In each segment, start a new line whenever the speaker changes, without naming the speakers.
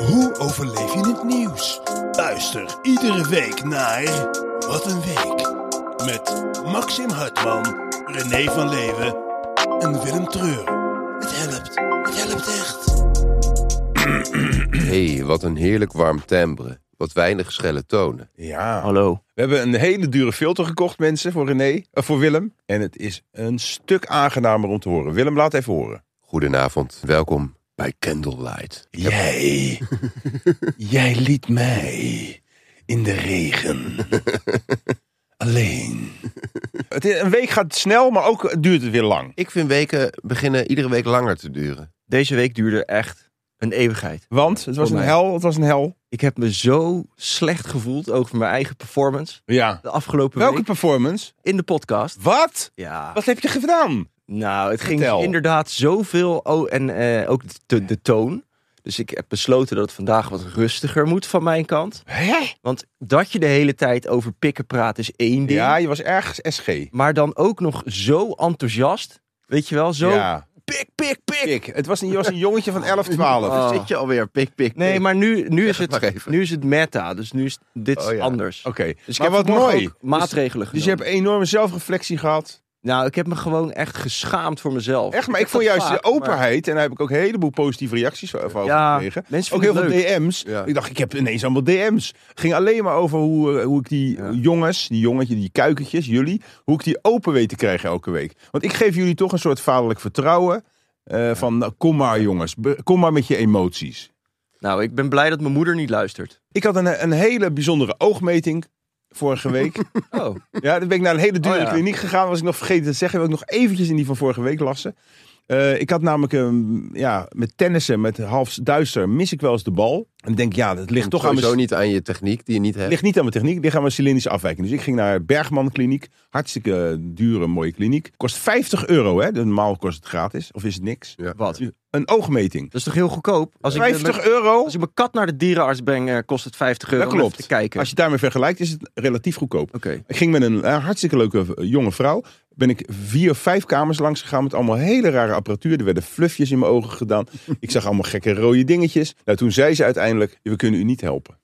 Hoe overleef je het nieuws? Luister iedere week naar Wat een Week. Met Maxim Hartman, René van Leeuwen en Willem Treur. Het helpt. Het helpt echt.
hey, wat een heerlijk warm timbre. Wat weinig schelle tonen.
Ja.
Hallo.
We hebben een hele dure filter gekocht, mensen, voor René, eh, voor Willem. En het is een stuk aangenamer om te horen. Willem, laat even horen.
Goedenavond, welkom bij Candlelight.
Jij, jij liet mij in de regen. Alleen. Het is, een week gaat snel, maar ook duurt het weer lang.
Ik vind weken beginnen iedere week langer te duren.
Deze week duurde echt een eeuwigheid.
Want het was
Voor
een
mij.
hel, het was een hel.
Ik heb me zo slecht gevoeld over mijn eigen performance
Ja.
de afgelopen
Welke
week
performance?
in de podcast.
Wat?
Ja.
Wat heb je gedaan?
Nou, het ging
Vertel.
inderdaad zoveel. Oh, en eh, ook de, de toon. Dus ik heb besloten dat het vandaag wat rustiger moet van mijn kant.
Hè?
Want dat je de hele tijd over pikken praat is één ding.
Ja, je was ergens SG.
Maar dan ook nog zo enthousiast. Weet je wel, zo
Ja.
pik, pik, pik.
Ik. Het was een, je was een jongetje van Dus 11, 12.
Oh.
Zit je alweer, pik, pik,
Nee,
pik.
maar nu, nu, is
het maar
het,
even.
nu is het meta. Dus nu is dit
Oh ja.
anders.
Oké,
Dus ik
maar
heb
wat
vanmorgen
mooi.
ook maatregelen
Dus
genomen.
je hebt enorme zelfreflectie gehad.
Nou, ik heb me gewoon echt geschaamd voor mezelf.
Echt, maar
heb
ik vond
dat
juist de
vaak, maar-
openheid. En daar heb ik ook een heleboel positieve reacties over
Ja,
gekregen.
mensen
Ook
vinden
heel
het
veel
leuk.
DM's.
Ja.
Ik dacht, ik heb ineens allemaal DM's. Ging alleen maar over hoe, eh, hoe ik die
Ja.
jongens, die jongetje, die kuikentjes, jullie, hoe ik die open weet te krijgen elke week. Want ik geef jullie toch een soort vaderlijk vertrouwen. eh, Van nou, kom maar jongens, Be- kom maar met je emoties.
Nou, ik ben blij dat mijn moeder niet luistert.
Ik had een, een hele bijzondere oogmeting vorige week.
Oh,
Ja, dan ben ik naar een hele dure
Oh, ja.
kliniek gegaan. Was ik nog vergeten te zeggen. Wil ik nog eventjes in die van vorige week lassen. Eh, ik had namelijk een, ja, met tennissen, met half duister, mis ik wel eens de bal. En denk, ja, dat ligt
Ligt
toch aan mijn,
sowieso niet aan je techniek die je niet hebt.
ligt niet aan mijn techniek, ligt aan mijn cilindrische afwijking. Dus ik ging naar Bergman Kliniek. Hartstikke dure, mooie kliniek. Kost 50 euro, hè? Dus Normaal kost het gratis. Of is het niks?
Ja.
wat? Dat
Een oogmeting.
is toch heel goedkoop? Als ik,
50
mijn,
euro?
als ik mijn kat naar de dierenarts breng, eh, kost het 50 euro
Dat
om
klopt.
even te kijken.
Als je het daarmee vergelijkt, is het relatief goedkoop.
Oké.
Ik ging met een eh, hartstikke leuke eh, jonge vrouw. Ben ik vier of vijf kamers langs gegaan met allemaal hele rare apparatuur. Er werden fluffjes in mijn ogen gedaan. Ik zag allemaal gekke rode dingetjes. Nou, toen zei ze uiteindelijk, we kunnen u niet helpen.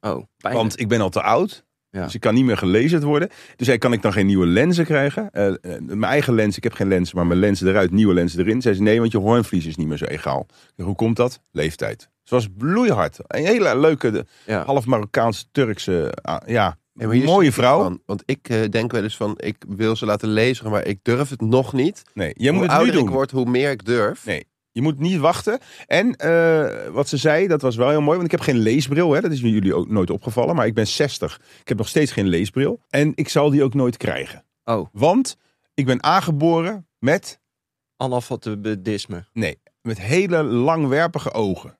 Oh, pijn.
Want ik ben al te oud.
Ja.
Dus ik kan niet meer gelezerd worden. Dus hij kan ik dan geen nieuwe lenzen krijgen? Eh, eh, mijn eigen lens, ik heb geen lens, maar mijn lenzen eruit, nieuwe lenzen erin. Zei ze, nee, want je hoornvlies is niet meer zo egaal. Ik zeg, Hoe komt dat? Leeftijd. Ze was bloeihard. Een hele leuke, de-
Ja.
half Marokkaans-Turkse, ah, ja,
Ja, maar hier
mooie
zit iets
vrouw.
van, want ik eh, denk wel eens van, ik wil ze laten lezen, maar ik durf het nog niet.
Nee, jij
hoe
moet het nu
ouder
doen.
ik word, hoe meer ik durf.
Nee. Je moet niet wachten. En eh, wat ze zei, dat was wel heel mooi. Want ik heb geen leesbril. Hè? Dat is jullie ook nooit opgevallen. Maar ik ben 60. Ik heb nog steeds geen leesbril. En ik zal die ook nooit krijgen.
Oh.
Want ik ben aangeboren met,
Analfabetisme.
met hele langwerpige ogen.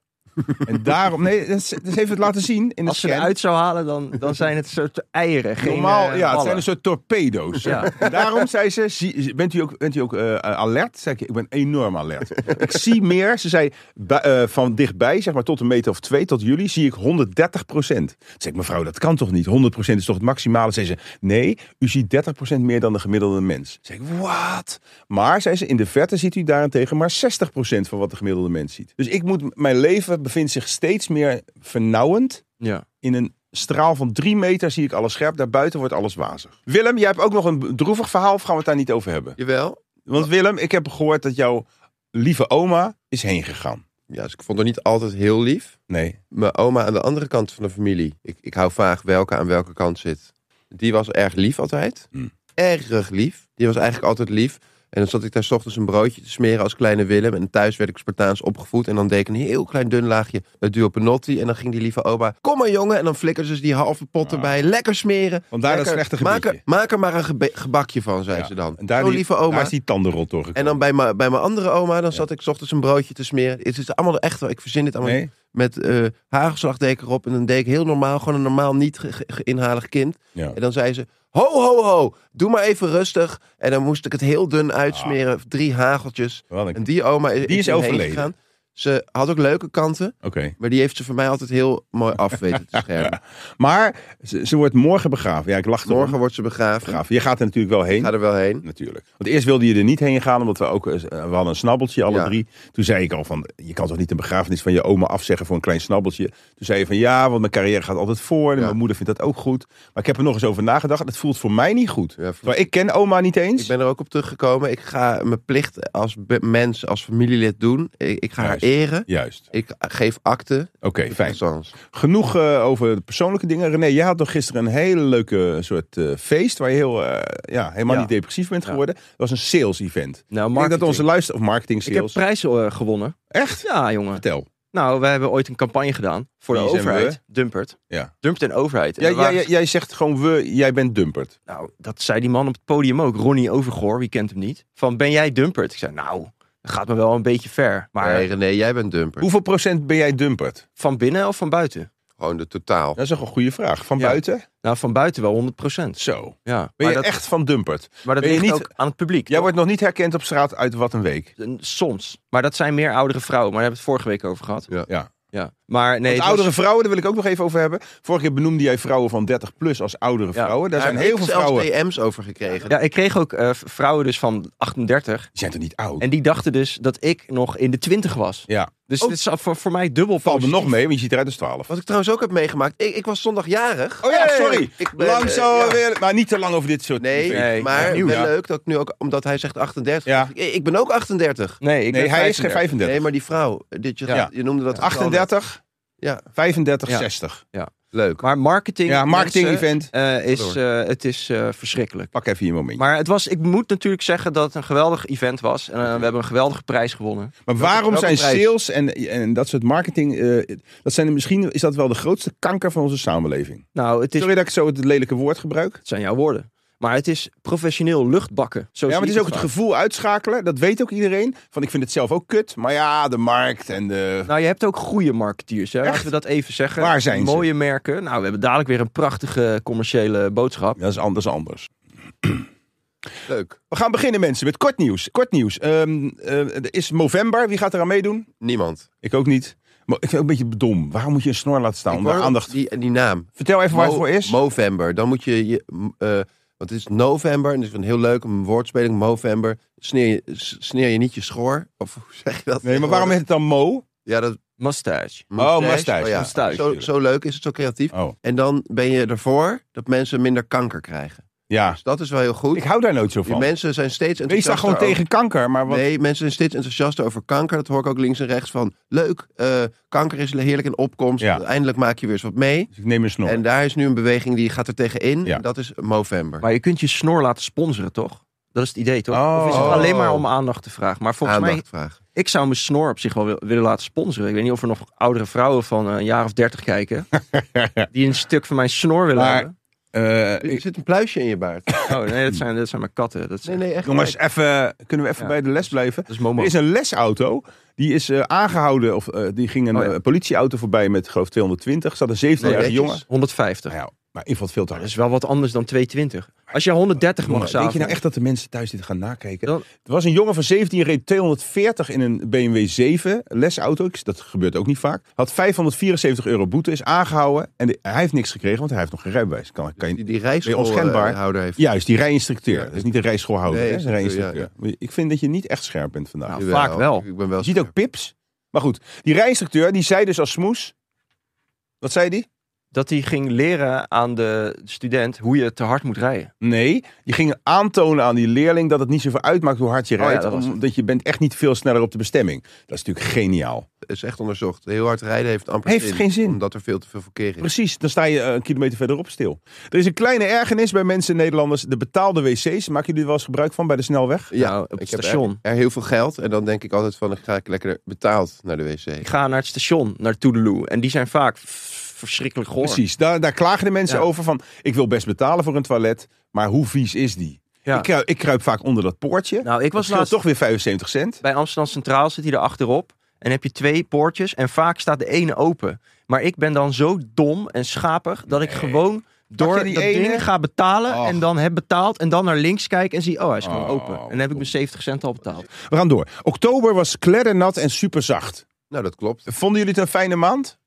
en daarom... Nee, dat is- dat heeft het laten zien in de
Als ze
scan.
eruit zou halen, dan, dan zijn het soort eieren. Geen,
Normaal,
eh,
ja, het zijn
ballen.
een soort torpedo's.
Ja.
En daarom zei ze, zie- bent u ook, bent u ook eh, alert? Zei ik, ik ben enorm alert. ik zie meer, ze zei, bij- eh, van dichtbij, zeg maar tot een meter of twee, tot jullie, zie ik 130 procent. Zeg ik, mevrouw, dat kan toch niet? 100 procent is toch het maximale? Zei ze, nee, u ziet 30 procent meer dan de gemiddelde mens. Zeg ik, wat? Maar, zei ze, in de verte ziet u daarentegen maar 60 procent van wat de gemiddelde mens ziet. Dus ik moet, mijn leven bevindt zich steeds meer vernauwend
Ja. Nou,
in een straal van drie meter zie ik alles scherp. Daarbuiten wordt alles wazig. Willem, jij hebt ook nog een droevig verhaal of gaan we het daar niet over hebben?
Jawel.
Want Willem, ik heb gehoord dat jouw lieve oma is heen gegaan.
Ja, dus ik vond het niet altijd heel lief.
Nee.
Mijn oma aan de andere kant van de familie, ik, ik hou vaag welke aan welke kant zit. Die was erg lief altijd.
Hmm.
Erg lief. Die was eigenlijk altijd lief. En dan zat ik daar 's ochtends een broodje te smeren als kleine Willem. En thuis werd ik Spartaans opgevoed. En dan deed ik een heel klein dun laagje eh, duo penotti. En dan ging die lieve oma, kom maar jongen. En dan flikkerde ze die halve pot
Ah.
erbij. Lekker smeren.
Vandaar dat
Lekker.
slechte
maak er,
gebitje.
maak er maar een gebe- gebakje van, zei
Ja.
ze dan.
En daar
Zo
die-
lieve
Daar
oma.
is die tandenrot doorgekomen.
En dan bij, mijn- bij mijn andere oma, dan zat ik 's ochtends een broodje te smeren. Het is allemaal echt wel, ik verzin dit allemaal
Nee?
met eh hagelslagdek erop. En dan deed ik heel normaal, gewoon een normaal niet ge- ge- ge- inhalig kind.
Ja.
En dan zei ze, ho, ho, ho, doe maar even rustig.
Ah.
En dan moest ik het heel dun uitsmeren, drie hageltjes.
Wel een-
En die oma is,
Die is
erheen
overleden.
gegaan. Ze had ook leuke kanten,
Oké.
maar die heeft ze voor mij altijd heel mooi af weten te schermen.
Maar ze, ze wordt morgen begraven. Ja, ik lach erom.
Morgen wordt ze begraven.
begraven. Je gaat er natuurlijk wel heen.
Ik ga er wel heen.
Natuurlijk. Want eerst wilde je er niet heen gaan, omdat we ook eh, we hadden een snabbeltje, alle
Ja.
drie. Toen zei ik al van, je kan toch niet een begrafenis van je oma afzeggen voor een klein snabbeltje. Toen zei je van, ja, want mijn carrière gaat altijd voor en
Ja.
mijn moeder vindt dat ook goed. Maar ik heb er nog eens over nagedacht. Het voelt voor mij niet goed.
Ja,
Terwijl ik ken oma niet eens.
Ik ben er ook op teruggekomen. Ik ga mijn plicht als be- mens, als familielid doen. Ik, ik ga haar
Juist.
eren.
Juist.
Ik geef akte.
Oké, fijn.
Sans.
Genoeg eh, over de persoonlijke dingen. René, jij had toch gisteren een hele leuke soort eh, feest waar je heel, eh, ja, helemaal
Ja.
niet depressief bent
Ja.
geworden. Dat was een sales event.
Nou,
Ik denk dat
marketing.
onze luister... Of marketing
Ik heb
sales.
prijzen eh, gewonnen.
Echt?
Ja, jongen.
Vertel.
Nou, wij hebben ooit een campagne gedaan voor
Wie
de
zijn we?
overheid. Dumpert.
Ja.
Dumpert en overheid. En
Jij,
we waren- dus-
jij, jij zegt gewoon we, jij bent dumpert.
Nou, dat zei die man op het podium ook. Ronnie Overgoor, wie kent hem niet? Van, ben jij Dumpert? Ik zei, nou, dat gaat me wel een beetje ver. Maar
Maar René, jij bent dumper.
Hoeveel procent ben jij dumpert?
van binnen of van buiten?
Gewoon de totaal.
Dat is toch een goede vraag. Van
Ja.
buiten?
Nou, van buiten wel 100 procent.
Zo.
Ja.
Ben
maar
je
dat,
echt van dumpert?
maar dat
ben je
ligt
niet-
ook aan het publiek.
Jij wordt nog niet herkend op straat uit wat een week.
Eh, Soms. Maar dat zijn meer oudere vrouwen. Maar daar hebben we het vorige week over gehad.
Ja.
Ja.
Ja. Maar nee,
Want
het
oudere
was-
vrouwen, daar wil ik ook nog even over hebben. Vorige keer benoemde jij vrouwen van 30 plus als oudere
Ja.
vrouwen. Daar zijn
Daar
heel
heb
veel
ik zelfs
vrouwen.
DM's over gekregen.
Ja, ik kreeg ook eh, vrouwen dus van 38.
Die zijn toch niet oud?
En die dachten dus dat ik nog in de 20 was.
Ja.
Dus
Oh.
dit is voor, voor mij dubbel
Valt me
positief.
nog mee, want je ziet eruit als 12.
Wat ik trouwens ook heb meegemaakt. Ik, ik was zondag jarig.
Oh ja,
Hey!
sorry.
Ik ben,
Lang
eh,
zo
ja.
weer. Maar niet te lang over dit soort
Nee,
dingen.
Nee,
maar
opnieuw,
wel
ja.
leuk dat ik nu ook, omdat hij zegt 38.
Ja.
Ik, ik ben ook 38.
Nee, ik
Nee,
ben
hij is geen
35.
35.
Nee, maar die vrouw, dit, je,
Ja.
je noemde dat.
38,
Ja,
35,
Ja.
60.
leuk.
Maar marketing.
Ja, marketing
mensen,
event.
eh, is, eh, het is eh, verschrikkelijk.
Pak even je momentje.
Maar het was, ik moet natuurlijk zeggen dat het een geweldig event was. En eh, we hebben een geweldige prijs gewonnen.
Maar
Welke-
waarom
welke
zijn
prijs?
sales en, en dat soort marketing, eh, dat zijn misschien is dat wel de grootste kanker van onze samenleving.
Nou, het, is,
Sorry dat ik zo het lelijke woord gebruik.
het zijn jouw woorden. Maar het is professioneel luchtbakken. Zo
Ja,
zie
maar het is
ik
ook
vaak.
het gevoel uitschakelen. Dat weet ook iedereen. Van ik vind het zelf ook kut. Maar ja, de markt en de.
Nou, je hebt ook goede marketeers. Hè? Laten
Echt?
we dat even zeggen.
Waar zijn ze?
Mooie merken. Nou, we hebben dadelijk weer een prachtige commerciële boodschap.
Dat is anders anders.
Leuk.
We gaan beginnen mensen met kort nieuws. Kort nieuws. Ehm, eh, er is Movember. Wie gaat eraan meedoen?
Niemand.
Ik ook niet. Maar ik vind het ook een beetje dom. Waarom moet je een snor laten staan?
Ik
Nou, Om daar
word-
aandacht.
Die, die naam.
Vertel even waar het voor is.
Movember. Dan moet je, je m, eh, want het is november. En dat is een heel leuk een woordspeling. Movember. Sneer je, s- sneer je niet je schoor. Of hoe zeg je dat?
Nee, maar waarom heet het dan Mo?
Ja, dat
Mustache.
Oh, mustache.
ja.
Mustache,
Zo, zo leuk is het, zo creatief.
Oh,
En dan ben je ervoor dat mensen minder kanker krijgen.
ja.
Dus dat is wel heel goed.
Ik hou daar nooit zo
Die
van.
mensen zijn steeds
Wees daar
enthousiaster.
gewoon
over-
tegen kanker. Maar wat...
Nee, mensen zijn steeds enthousiaster over kanker. Dat hoor ik ook links en rechts van. Leuk, eh, kanker is heerlijk in opkomst.
Ja.
Eindelijk maak je weer eens wat mee.
Dus ik neem een snor.
En daar is nu een beweging die gaat er tegenin.
Ja.
En Dat is Movember.
Maar je kunt je snor laten sponsoren, toch? Dat is het idee, toch?
Oh.
Of is het alleen maar om aandacht te vragen? Maar volgens mij,
Aandachtvraag.
ik zou mijn snor op zich wel wil- willen laten sponsoren. Ik weet niet of er nog oudere vrouwen van eh, een jaar of dertig kijken. die een stuk van mijn snor willen
Maar-
hebben.
Eh,
Er zit een pluisje in je baard.
Oh, nee, dat zijn, dat zijn mijn katten. Dat is,
Nee, nee, echt.
jongens,
niet.
even, kunnen we even
Ja.
bij de les blijven?
dat is Momo.
Er is een lesauto. Die is eh, aangehouden. Of eh, die ging een
Oh, ja.
eh, politieauto voorbij met, geloof ik, 220. Er zat een 17-jarige
Nee,
jongen.
150.
Nou ja, maar in ieder geval veel te
Dat
hard.
is wel wat anders dan 220. Als je 130 mag
Jongen,
samen.
Denk je nou echt dat de mensen thuis dit gaan nakijken?
Dan-
Er was een jongen van 17, die reed 240 in een BMW 7 lesauto. Ik- Dat gebeurt ook niet vaak. Had 574 euro boete, is aangehouden. En de- hij heeft niks gekregen, want hij heeft nog geen rijbewijs. Kan, kan je
Die, die
onschendbaar.
rijschoolhouder heeft.
Juist, die rijinstructeur.
Ja.
dat is niet een rijschoolhouder,
Nee,
hè? Dat is een
instructeur,
rijinstructeur. Ik vind dat je niet echt scherp bent vandaag.
Nou,
Jawel,
vaak wel.
Ik ben wel
je ziet ook pips. Maar goed, die rijinstructeur die zei dus als smoes... Wat zei die?
Dat hij ging leren aan de student hoe je te hard moet rijden.
Nee, die ging aantonen aan die leerling dat het niet zoveel uitmaakt hoe hard je
Oh ja,
rijdt.
dat was het.
omdat je bent echt niet veel sneller op de bestemming. Dat is natuurlijk geniaal.
is echt onderzocht. Heel hard rijden heeft amper
Heeft geen zin.
Omdat er veel te veel verkeer is.
Precies, dan sta je eh, een kilometer verderop stil. Er is een kleine ergernis bij mensen Nederlanders. De betaalde wc's, maken jullie er wel eens gebruik van bij de snelweg?
Ja,
Nou, op het
ik heb
station.
Er, er heel veel geld. En dan denk ik altijd van, dan ga ik lekker betaald naar de wc.
Ik ga naar het station, naar Toedeloe. En die zijn vaak f- verschrikkelijk goor.
Precies, daar, daar klagen de mensen
Ja.
over van... ik wil best betalen voor een toilet, maar hoe vies is die?
Ja.
Ik, kruip, ik kruip vaak onder dat poortje.
Nou, ik
dat
was
scheelt
laatst
toch weer 75 cent.
bij Amsterdam Centraal, zit hij er achterop. En heb je twee poortjes en vaak staat de ene open. Maar ik ben dan zo dom en schapig dat ik gewoon door
je die
dat
ene?
ding ga betalen.
Och.
En dan heb betaald en dan naar links kijk en zie, oh hij is gewoon
Oh,
open. En dan heb ik mijn 70 cent al betaald.
We gaan door. Oktober was kleddernat en superzacht.
Nou, dat klopt.
Vonden jullie het een fijne maand?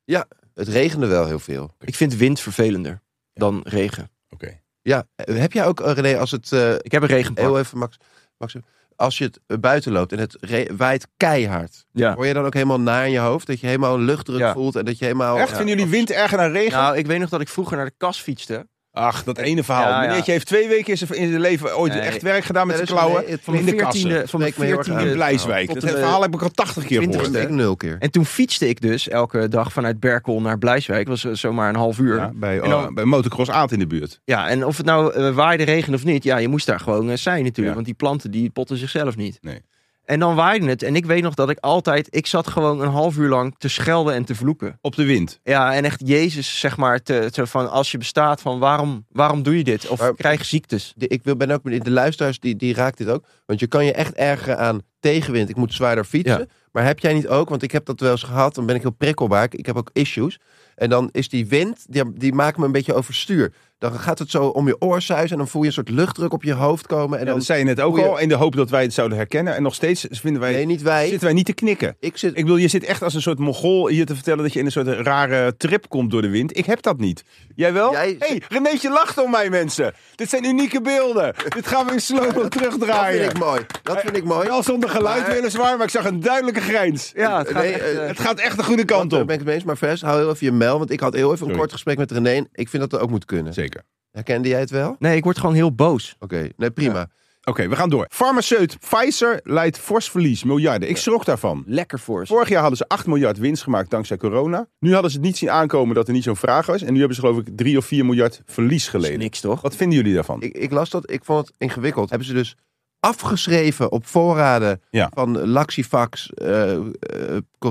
Het regende wel heel veel.
Ik vind wind vervelender dan regen.
Oké.
Ja, eh, heb jij ook, eh, René, als het... eh,
Ik heb een regenpak.
heel even, Max, Max. Als je het eh, buiten loopt en het re- waait keihard.
Ja.
Hoor je dan ook helemaal na in je hoofd? Dat je helemaal een luchtdruk
Ja.
voelt en dat je helemaal...
Oh,
Echt,
Ja.
vinden jullie wind erger dan regen?
Nou, ik weet nog dat ik vroeger naar de kas fietste.
Ach, dat ene verhaal.
Ja, ja.
Meneertje heeft twee weken in zijn- in zijn leven ooit
Nee.
echt werk gedaan met
Ja,
zijn
dat is-
klauwen.
nee, het-
Van de
in de kassen.
14e, van de
Spreekt me heel erg aan.
14e
in Blijswijk.
tot
Dat
en met-
verhaal heb ik al tachtig keer gehoord.
twintigste.
Ik nul keer.
En toen fietste ik dus elke dag vanuit Berkel naar Blijswijk. Dat was eh, zomaar een half uur.
Ja,
Ja,
bij,
En dan-
oh, bij Motocross Aad in de buurt.
en of het nou eh, waaide, regen of niet. Ja, je moest daar gewoon eh, zijn natuurlijk.
Ja.
Want die planten die potten zichzelf niet.
Nee.
En dan waaide het. En ik weet nog dat ik altijd... Ik zat gewoon een half uur lang te schelden en te vloeken.
Op de wind.
Ja, en echt Jezus zeg maar. Te, te van als je bestaat van waarom, waarom doe je dit? Of
Maar-
krijg ziektes.
De- ik wil, ben ook benieuwd, de luisteraars die, die raakt dit ook. Want je kan je echt ergeren aan tegenwind. Ik moet zwaarder fietsen.
Ja.
Maar heb jij niet ook, want ik heb dat wel eens gehad. Dan ben ik heel prikkelbaar. Ik- Ik heb ook issues. En dan is die wind, die, die maakt me een beetje overstuur. Dan gaat het zo om je oor suizen. En dan voel je een soort luchtdruk op je hoofd komen. En
Ja,
dan,
dat zei je net ook
Goeie-
al. In de hoop dat wij het zouden herkennen. En nog steeds vinden wij,
nee, niet wij.
zitten wij niet te knikken.
ik zit,
Ik bedoel, je zit echt als een soort mogol hier te vertellen dat je in een soort rare trip komt door de wind. Ik heb dat niet. Jij wel?
Jij-
hey, Renéetje lacht om mij, mensen. Dit zijn unieke beelden. Dit gaan we in slow
dat
terugdraaien.
vind ik mooi. Dat vind ik mooi.
Wel zonder geluid
Maar-
weliswaar, maar ik zag een duidelijke grijns.
Ja, het gaat
Nee,
echt,
eh,
eh,
Het gaat echt de goede kant
Daar
op.
eh, ben ik het mee eens. Maar Vers, hou heel even je mel. Want ik had heel even een
Sorry.
kort gesprek met René. Ik vind dat dat ook moet kunnen.
Zeker.
Herkende jij het wel? Oké,
Nee, ik word gewoon heel boos.
nee, prima.
Oké, we gaan door. Farmaceut Pfizer leidt fors verlies, miljarden. Ik schrok daarvan.
Lekker voor ze.
Vorig jaar hadden ze 8 miljard winst gemaakt dankzij corona. Nu hadden ze het niet zien aankomen dat er niet zo'n vraag was. En nu hebben ze geloof ik 3 of 4 miljard verlies
Dat is
geleden.
niks toch?
Wat vinden jullie daarvan?
ik, ik las dat, ik vond het ingewikkeld. Hebben ze dus afgeschreven op voorraden
Ja.
van Laxifax, eh eh,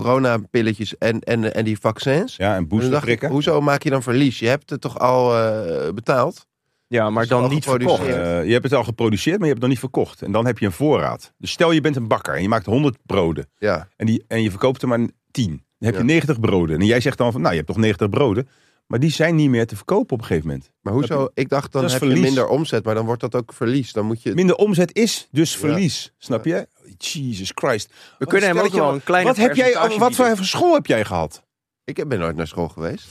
coronapilletjes en, en, en die vaccins.
Ja, en
En toen dacht ik,
boosterprikken.
hoezo maak je dan verlies? Je hebt het toch al eh, betaald?
Ja, maar
Is wel
dan niet
geproduceerd.
verkocht.
Eh, je hebt het al geproduceerd, maar je hebt het nog niet verkocht. En dan heb je een voorraad. Dus stel je bent een bakker en je maakt 100 broden.
Ja.
En, die, en je verkoopt er maar 10. Dan heb je
Ja.
90 broden. En jij zegt dan van, nou je hebt toch 90 broden. Maar die zijn niet meer te verkopen op een gegeven moment.
Maar hoezo? Ik dacht, dan
Dat
heb
is
je
verlies.
minder omzet, maar dan wordt dat ook verlies. Dan moet je...
Minder omzet is dus verlies. Snap je? Jesus Christ.
We kunnen hem ook wel een kleine
Wat, heb jij,
percentage
wat voor
bieden.
school heb jij gehad?
Ik ben nooit naar school geweest.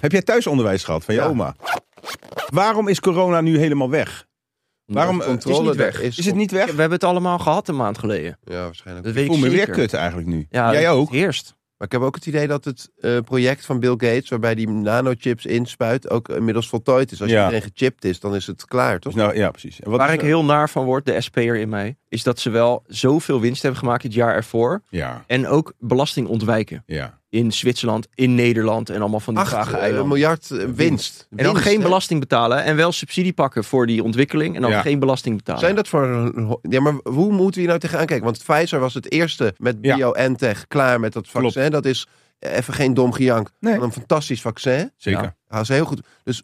Heb jij thuisonderwijs gehad van je
Ja.
oma? Waarom is corona nu helemaal weg?
Nou,
Waarom eh,
controle
is, het niet
er
weg?
is
is het niet
We
weg? Ik
hebben het allemaal gehad een maand geleden.
Ja, waarschijnlijk.
Dat weet ik
voel me
zeker.
weer kut eigenlijk nu.
Ja,
jij
dat
ook?
Eerst.
Maar ik heb ook het idee dat het eh, project van Bill Gates, waarbij die nanochips inspuit, ook inmiddels voltooid is. Als
Ja.
iedereen gechipt is, dan is het klaar, toch?
Dus nou, ja, precies. En Wat
Waar
is
ik
er-
heel naar van word, de SP'er in mij, is dat ze wel zoveel winst hebben gemaakt het jaar ervoor.
Ja,
En ook belasting ontwijken.
ja.
In Zwitserland, in Nederland en allemaal van die
Acht
vage
eh,
eilanden.
miljard eh, winst.
en dan
Winst,
geen
hè?
belasting betalen en wel subsidie pakken voor die ontwikkeling. En dan
Ja.
geen belasting betalen.
Zijn dat voor... een ho- Ja, maar hoe moeten we hier nou tegenaan kijken? Want Pfizer was het eerste met
Ja.
BioNTech klaar met dat vaccin. Dat is eh, even geen dom gejank.
Nee.
Van Een fantastisch vaccin.
Zeker.
Ja.
Gaan ze heel goed. Dus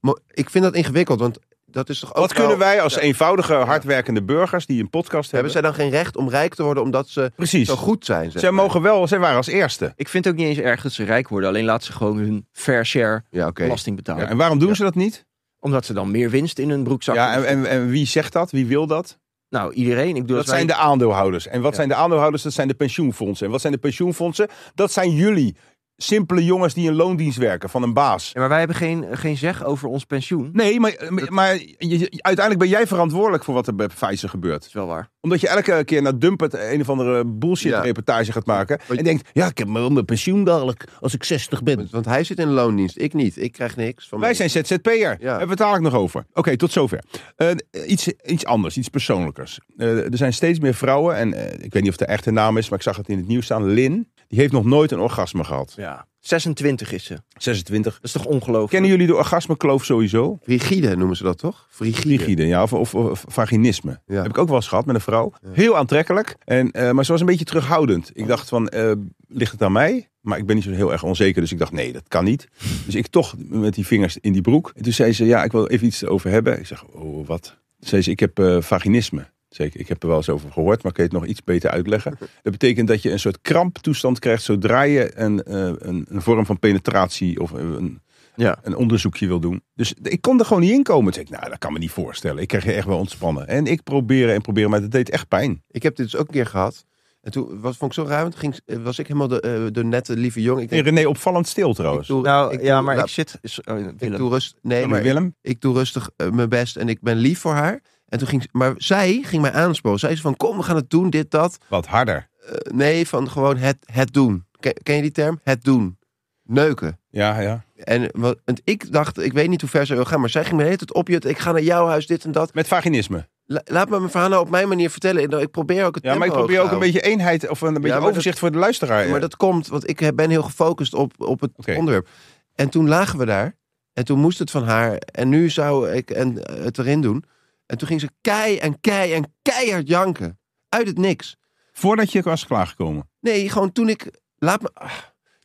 mo- ik vind dat ingewikkeld, want dat is toch ook
Wat
wel-
kunnen wij als
Ja.
eenvoudige, hardwerkende burgers die een podcast
Hebben
hebben?
zij dan geen recht om rijk te worden omdat ze
Precies.
zo goed zijn? zeg
Zij
maar?
mogen wel, zij waren als eerste.
Ik vind het ook niet eens erg dat ze rijk worden. Alleen laat ze gewoon hun fair share
Ja, oké.
belasting betalen.
Ja, en waarom doen ze dat niet?
Omdat ze dan meer winst in hun broekzak
Ja, en,
hebben.
en, en wie zegt dat? Wie wil dat?
Nou, iedereen. Ik bedoel,
Dat
als wij-
zijn de aandeelhouders. En wat
Ja.
zijn de aandeelhouders? Dat zijn de pensioenfondsen. En wat zijn de pensioenfondsen? Dat zijn jullie. Simpele jongens die in loondienst werken van een baas.
Ja, maar wij hebben geen, geen zeg over ons pensioen. Dat
Nee, maar, maar je- je- uiteindelijk ben jij verantwoordelijk voor wat er bij Pfizer gebeurt.
is wel waar.
Omdat je elke keer naar Dumpert een of andere bullshit
Ja.
reportage gaat maken. En denkt, ja, ik heb wel mijn pensioen dadelijk als ik 60 ben.
Want, want hij zit in loondienst, ik niet. Ik krijg niks. Van
Wij
mijn-
zijn ZZP'er. Hebben we het dadelijk nog over. Oké, tot zover. Eh, iets, iets anders, iets persoonlijkers. Eh, er zijn steeds meer vrouwen, en eh, ik weet niet of de echte naam is, maar ik zag het in het nieuws staan. Lin, die heeft nog nooit een orgasme gehad.
Ja. 26 is ze. Dat
26.
is toch ongelooflijk?
Kennen jullie de orgasmekloof sowieso?
Frigide noemen ze dat toch? Frigide.
Rigide, ja, of, of, of vaginisme.
Ja.
Heb ik ook wel eens gehad met een vrouw. Heel aantrekkelijk, en, eh, maar ze was een beetje terughoudend. Ik dacht van, eh, ligt het aan mij? Maar ik ben niet zo heel erg onzeker, dus ik dacht, nee, dat kan niet. Dus ik toch met die vingers in die broek. En toen zei ze, ja, ik wil even iets over hebben. Ik zeg, oh, wat? Toen zei ze, ik heb eh, vaginisme. Zeker, ik heb er wel eens over gehoord, maar ik kan je het nog iets beter uitleggen. Dat betekent dat je een soort kramptoestand krijgt zodra je een, eh, een, een vorm van penetratie of een,
Ja.
een onderzoekje wil doen. Dus ik kon er gewoon niet in komen. Toen zei ik, nou, dat kan me niet voorstellen. Ik kreeg je echt wel ontspannen. En ik proberen en proberen, maar dat deed echt pijn.
Ik heb dit dus ook een keer gehad. En toen was, vond ik zo ruim. Toen ging, eh, was ik helemaal de, eh, de nette, lieve jong. Ik
En
denk,
René, opvallend stil trouwens.
doe-
Nou
ik
ja,
doe-
maar
nou,
ik zit. is- oh,
ik
Willem.
doe rust. Nee,
Maar
maar
Willem,
ik doe rustig eh, mijn best en ik ben lief voor haar. En toen ging, ze- maar zij ging mij aansporen. Zij zei van, kom, we gaan het doen, dit, dat.
wat harder.
Eh, nee, van gewoon het, het doen. Ken, ken je die term? Het doen. Neuken.
Ja, ja.
En wat, want ik dacht, ik weet niet hoe ver zij wil gaan, maar zij ging me de hele tijd opjutten. Ik ga naar jouw huis, dit en dat.
Met vaginisme.
La- laat me mijn verhaal nou op mijn manier vertellen. Nou, Ik probeer ook het
Ja, maar ik
tempo
probeer
hoog
ook
te
een beetje eenheid of een beetje
maar dat-
overzicht voor de luisteraar. eh,
houden. Maar dat komt, want ik heb- ben heel gefocust op, op het
Oké.
onderwerp. En toen lagen we daar. En toen moest het van haar. En nu zou ik en, eh, het erin doen. En toen ging ze kei en kei en keihard janken. Uit het niks.
Voordat je was klaargekomen.
Nee, gewoon toen ik. Laat me. ah,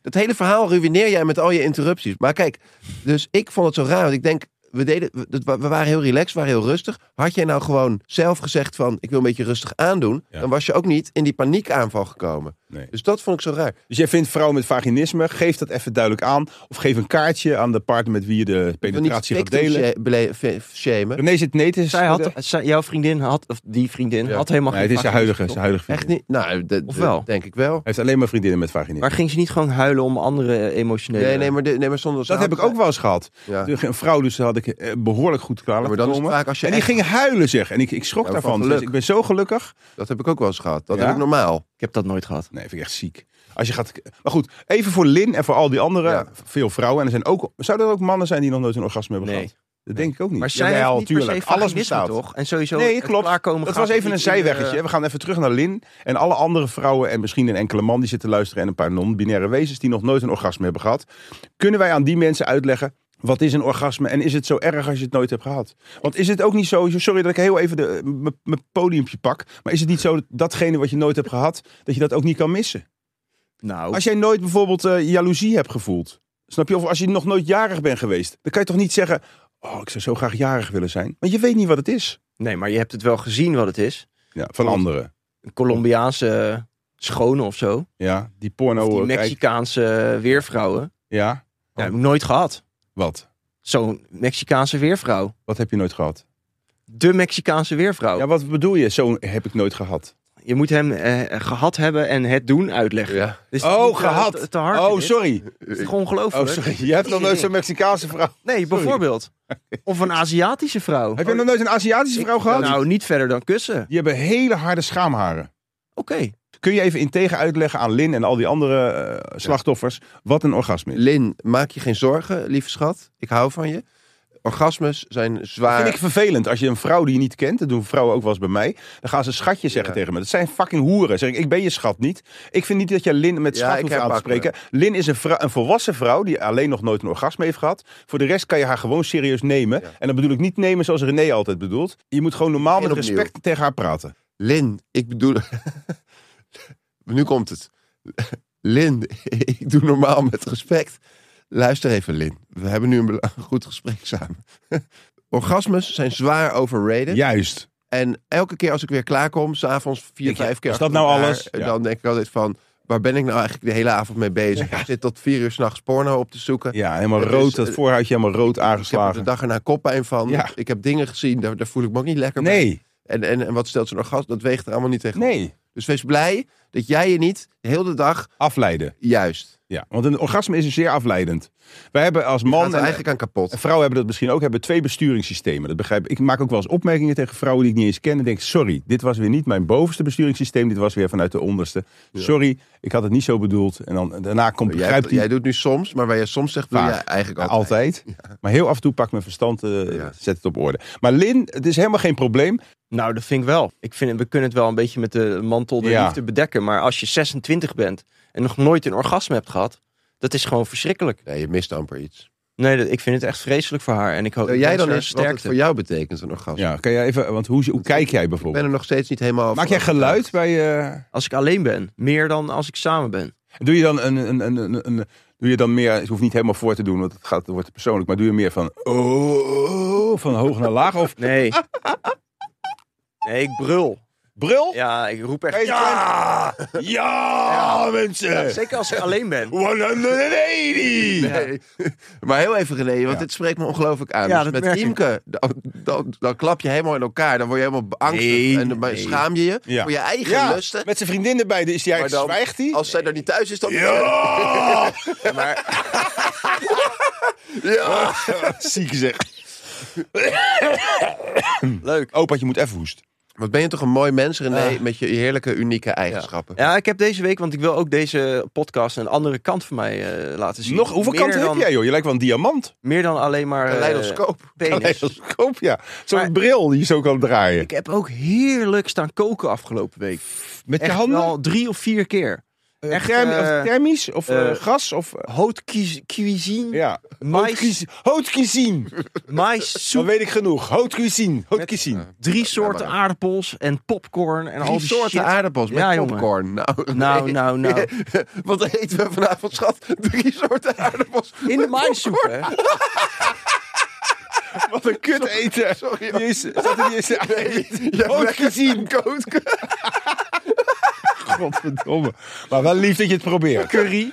Dat hele verhaal ruïneer jij met al je interrupties. Maar kijk, dus ik vond het zo raar. Want ik denk, we, deden, we, dat wa- we waren heel relaxed, we waren heel rustig. Had jij nou gewoon zelf gezegd van, ik wil een beetje rustig aandoen.
Ja.
Dan was je ook niet in die paniekaanval gekomen.
Nee.
Dus dat vond ik zo raar.
Dus jij vindt vrouwen met vaginisme, geef dat even duidelijk aan. Of geef een kaartje aan de partner met wie je de
Ik wil niet dus
penetratie gaat
victim
delen.
sha- bele- v- shamen.
René zit nee te
Dus Zij had,
schudden.
zij- jouw vriendin had, of die vriendin,
Ja.
had helemaal
Nee,
geen
het is zijn
vakantie,
huidige, zijn
toch?
huidige
Echt
vriendin.
niet? Nou, dat-
Of wel?
dat denk ik wel.
Hij heeft alleen maar vriendinnen met vaginisme.
Maar ging ze niet gewoon huilen om andere emotionele...
Nee, nee, maar, de- nee, maar zonder...
Dat heb ik ook wel eens gehad.
Ja.
Toen Een vrouw dus had ik eh, behoorlijk goed klaar
Ja,
laten
maar dan is het
komen.
vaak als je
en die
echt-
ging huilen zeg. En ik, ik schrok
Ja, van
daarvan.
geluk.
Dus ik ben zo gelukkig.
Dat heb ik ook wel eens gehad. Dat
Ja?
heb ik normaal.
Ik heb dat nooit gehad.
Nee, vind ik echt ziek. Als je gaat... Maar goed, even voor Lin en voor al die andere.
Ja.
Veel vrouwen. En er zijn ook... Zouden er ook mannen zijn die nog nooit een orgasme hebben
Nee.
gehad? Dat denk ik ook niet.
Maar zij
Jawel,
heeft niet per se
tuurlijk. Alles
vaginisme,
bestaat.
toch? En sowieso
Nee,
het
klopt.
klaarkomen
Dat
gaat
was even
niet in
een
eh, de-
zijweggetje. We gaan even terug naar Lin en alle andere vrouwen en misschien een enkele man die zit te luisteren en een paar non-binaire wezens die nog nooit een orgasme hebben gehad. Kunnen wij aan die mensen uitleggen wat is een orgasme en is het zo erg als je het nooit hebt gehad? Want is het ook niet zo, sorry dat ik heel even de- eh, m- mijn podiumpje pak, maar is het niet zo dat datgene wat je nooit hebt gehad, dat je dat ook niet kan missen?
Nou,
Als jij nooit bijvoorbeeld eh, jaloezie hebt gevoeld, snap je? Of als je nog nooit jarig bent geweest, dan kan je toch niet zeggen, oh ik zou zo graag jarig willen zijn. Want je weet niet wat het is.
nee, maar je hebt het wel gezien wat het is.
Ja, van anderen.
Een Colombiaanse eh, schone of zo.
Ja, die porno.
Of die
eh, kijk-
Mexicaanse weervrouwen.
Ja,
Ja, heb ik nooit gehad.
wat?
Zo'n Mexicaanse weervrouw.
Wat heb je nooit gehad?
De Mexicaanse weervrouw.
Ja, wat bedoel je? Zo heb ik nooit gehad.
Je moet hem eh, gehad hebben en het doen uitleggen.
Ja.
Dus
Oh,
niet, eh,
gehad.
Te, te hard
oh,
dit.
sorry.
Het is gewoon ongelooflijk.
Oh, sorry. Je hebt nog nooit zo'n Mexicaanse vrouw.
Nee, bijvoorbeeld. Of een Aziatische vrouw.
Heb je nog nooit een Aziatische vrouw gehad?
Nou, niet verder dan kussen.
Die hebben hele harde schaamharen.
Oké.
Kun je even integer uitleggen aan Lin en al die andere eh, slachtoffers wat een orgasme is?
Lin, maak je geen zorgen, lieve schat. Ik hou van je. Orgasmes zijn
Dat
zwaar.
vind ik vervelend. Als je een vrouw die je niet kent, dat doen vrouwen ook wel eens bij mij, dan gaan ze schatje zeggen
Ja.
tegen me. Dat zijn fucking hoeren. Zeg ik, ik ben je schat niet. Ik vind niet dat jij Lin met
Ja,
schat
ik
hoeft aan te
herpak me.
spreken. Lin is een, vrou- een volwassen vrouw die alleen nog nooit een orgasme heeft gehad. Voor de rest kan je haar gewoon serieus nemen.
Ja.
En dat bedoel ik niet nemen zoals René altijd bedoelt. Je moet gewoon normaal
Begin
met
opnieuw.
respect tegen haar praten.
Lin, ik bedoel. nu komt het. Lin, ik doe normaal met respect. Luister even, Lin. We hebben nu een bela- een goed gesprek samen. Orgasmes zijn zwaar overrated.
Juist.
En elke keer als ik weer klaarkom, s'avonds vier,
Denk je,
vijf keer.
is dat
achter
nou
elkaar, eh,
alles? Ja.
Dan denk ik altijd van. Waar ben ik nou eigenlijk de hele avond mee bezig? Ik zit tot vier uur s'nachts porno op te zoeken.
Ja, helemaal
Het
rood.
is,
dat
eh,
voorhuidje helemaal rood
Ik heb er de
aangeslagen.
dag erna koppijn van.
Ja.
Ik heb dingen gezien, daar, daar voel ik me ook niet lekker bij.
Nee,
En, en, en wat stelt zo'n orgasme? Dat weegt er allemaal niet tegen. op.
nee.
Dus wees blij dat jij je niet de hele dag
Afleiden.
juist.
Ja, want een orgasme is zeer afleidend. Wij hebben als
Man,
man...
gaat er
en-
eigenlijk aan kapot.
En Vrouwen hebben dat misschien ook, hebben twee besturingssystemen. Dat begrijp ik. Ik maak ook wel eens opmerkingen tegen vrouwen die ik niet eens ken. En denk, sorry, dit was weer niet mijn bovenste besturingssysteem. Dit was weer vanuit de onderste. Sorry, ik had het niet zo bedoeld. En dan, daarna komt,
Jij,
begrijpt
jij
hij
doet nu soms, maar waar je soms zegt, doe
Vaag.
jij eigenlijk
altijd.
altijd.
Maar heel af en toe pakt mijn verstand, eh,
Ja.
zet het op orde. Maar Lin, het is helemaal geen probleem.
Nou, dat vind ik wel. Ik vind, we kunnen het wel een beetje met de mantel de
Ja.
liefde bedekken. Maar als je 26 bent en nog nooit een orgasme hebt gehad, dat is gewoon verschrikkelijk.
Nee, je mist amper iets.
Nee, dat, ik vind het echt vreselijk voor haar. En ik hoop
Nou,
Wil
ik
jij
wens
dan
haar
eens wat het
sterkte.
voor jou betekent, een orgasme?
Ja, kan jij even, want hoe, hoe kijk jij
Ik
bijvoorbeeld?
ben er nog steeds niet helemaal
Maak
van
jij geluid bij... eh,
Als ik alleen ben, meer dan als ik samen ben.
Doe je dan een, een, een, een, een- doe je dan meer, het hoeft niet helemaal voor te doen, want het gaat, het wordt persoonlijk, maar doe je meer van, oh, van hoog naar laag? Of
Nee. Nee, ik brul.
Brul?
Ja, ik roep echt...
Ja! Ja,
Ja.
mensen!
Zeker als ik alleen ben.
180!
Nee. Maar heel even René, want
Ja.
dit spreekt me ongelooflijk aan.
Ja,
Dus
dat
met
merk ik.
Imke, dan, dan, dan klap je helemaal in elkaar. Dan word je helemaal angstig
Nee,
en dan
nee.
schaam je je
Ja.
voor je eigen
Ja,
lusten.
met zijn vriendin erbij dus is die
Maar
hij
dan,
zwijgt hij.
als zij daar niet thuis is, dan...
Ja!
Maar
Ja.
Ziek gezegd.
leuk.
Opaatje moet even hoesten.
Wat ben je toch een mooi mens René,
Ah.
met je heerlijke, unieke eigenschappen.
Ja, ik heb deze week, want ik wil ook deze podcast een andere kant van mij eh, laten zien.
Nog, hoeveel
Meer
kanten
dan-
heb jij, joh? Je lijkt wel een diamant. Oh,
Meer dan alleen maar...
Een
eh,
leidoscoop.
penis.
Kaleidoscoop, ja. Zo'n
Maar-
bril die je zo kan draaien.
Ik heb ook heerlijk staan koken afgelopen week.
Met je
Echt
handen?
al drie of vier keer.
Eh,
echt,
therm- of
eh,
thermisch? Of eh,
eh,
gas? Of, eh,
Haute cuis- cuisine,
ja. Haute
mais,
cuisine. Haute cuisine. Dan
maïssoep,
weet ik genoeg. Haute cuisine. Haute cuisine.
drie soorten aardappels en popcorn en al
Al
die
die soorten
shit.
aardappels met
Ja, jongen.
popcorn. Nou,
Nou,
nee.
nou, nou.
Wat eten we vanavond, schat? Drie soorten aardappels.
In de maïssoep, hè?
Wat een kut eten.
Sorry,
Die is, zat er niet eens aan. Haute cuisine. Godverdomme. Maar wel lief dat je het probeert.
Curry.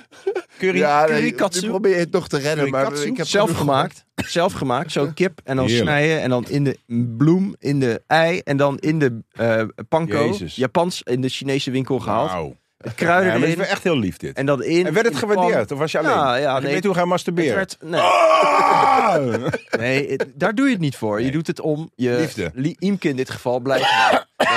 Curry,
Ja, nee,
curry
nu
katsu.
probeer je het nog te redden, maar
Currykatsu?
ik heb
Zelf
genoeg-
gemaakt. Zelf gemaakt. Zo kip en dan
Heerlijk.
snijden. En dan in de bloem, in de ei. En dan in de eh panko.
Jezus.
Japans in de Chinese winkel gehaald.
Wauw.
Het
Ja,
kruiden
maar het is
erin.
wel echt heel lief dit.
Nou. En dat in.
En werd het
in de pan.
gewaardeerd? Oh. Of was je alleen?
Ja, ja,
Was je
nee.
mee toe gaan
Het
masturberen?
werd, nee,
Ah!
nee, het- daar doe je het niet voor. Je doet het om je
Liefde.
Li- Imke in dit geval blijft.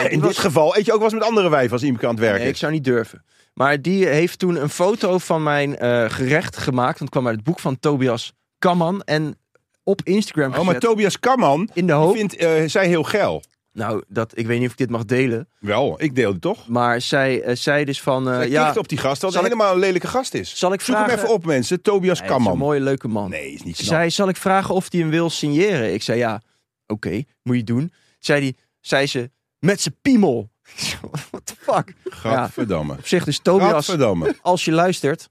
Nee,
In dit geval eet je ook wel eens met andere wijven als iemand aan het werken
Nee, ik
is.
zou niet durven. Maar die heeft toen een foto van mijn eh, gerecht gemaakt. Want het kwam uit het boek van Tobias Kamman. En op Instagram
Oh, maar
gezet. Oh.
Tobias Kamman
in de hoop.
vindt eh, zij heel geil.
Nou, dat, ik weet niet of ik dit mag delen.
Wel, ik deel het toch?
Maar zij eh, zei dus van... eh,
Hij
ja,
kikt op die gast, dat hij
Zal ik-
helemaal een lelijke gast is.
zal ik
Zoek
vragen...
hem even op, mensen. Tobias
Hij is een
Kamman.
mooie, leuke man.
Nee, is niet
Ze
knap.
zei, zal ik vragen of hij hem wil signeren? Ik zei, ja, oké, moet je doen. Zei, die, zei ze, met zijn piemel. What the fuck?
Gadverdamme.
Op zich dus, Tobias,
Gadverdamme.
als je luistert...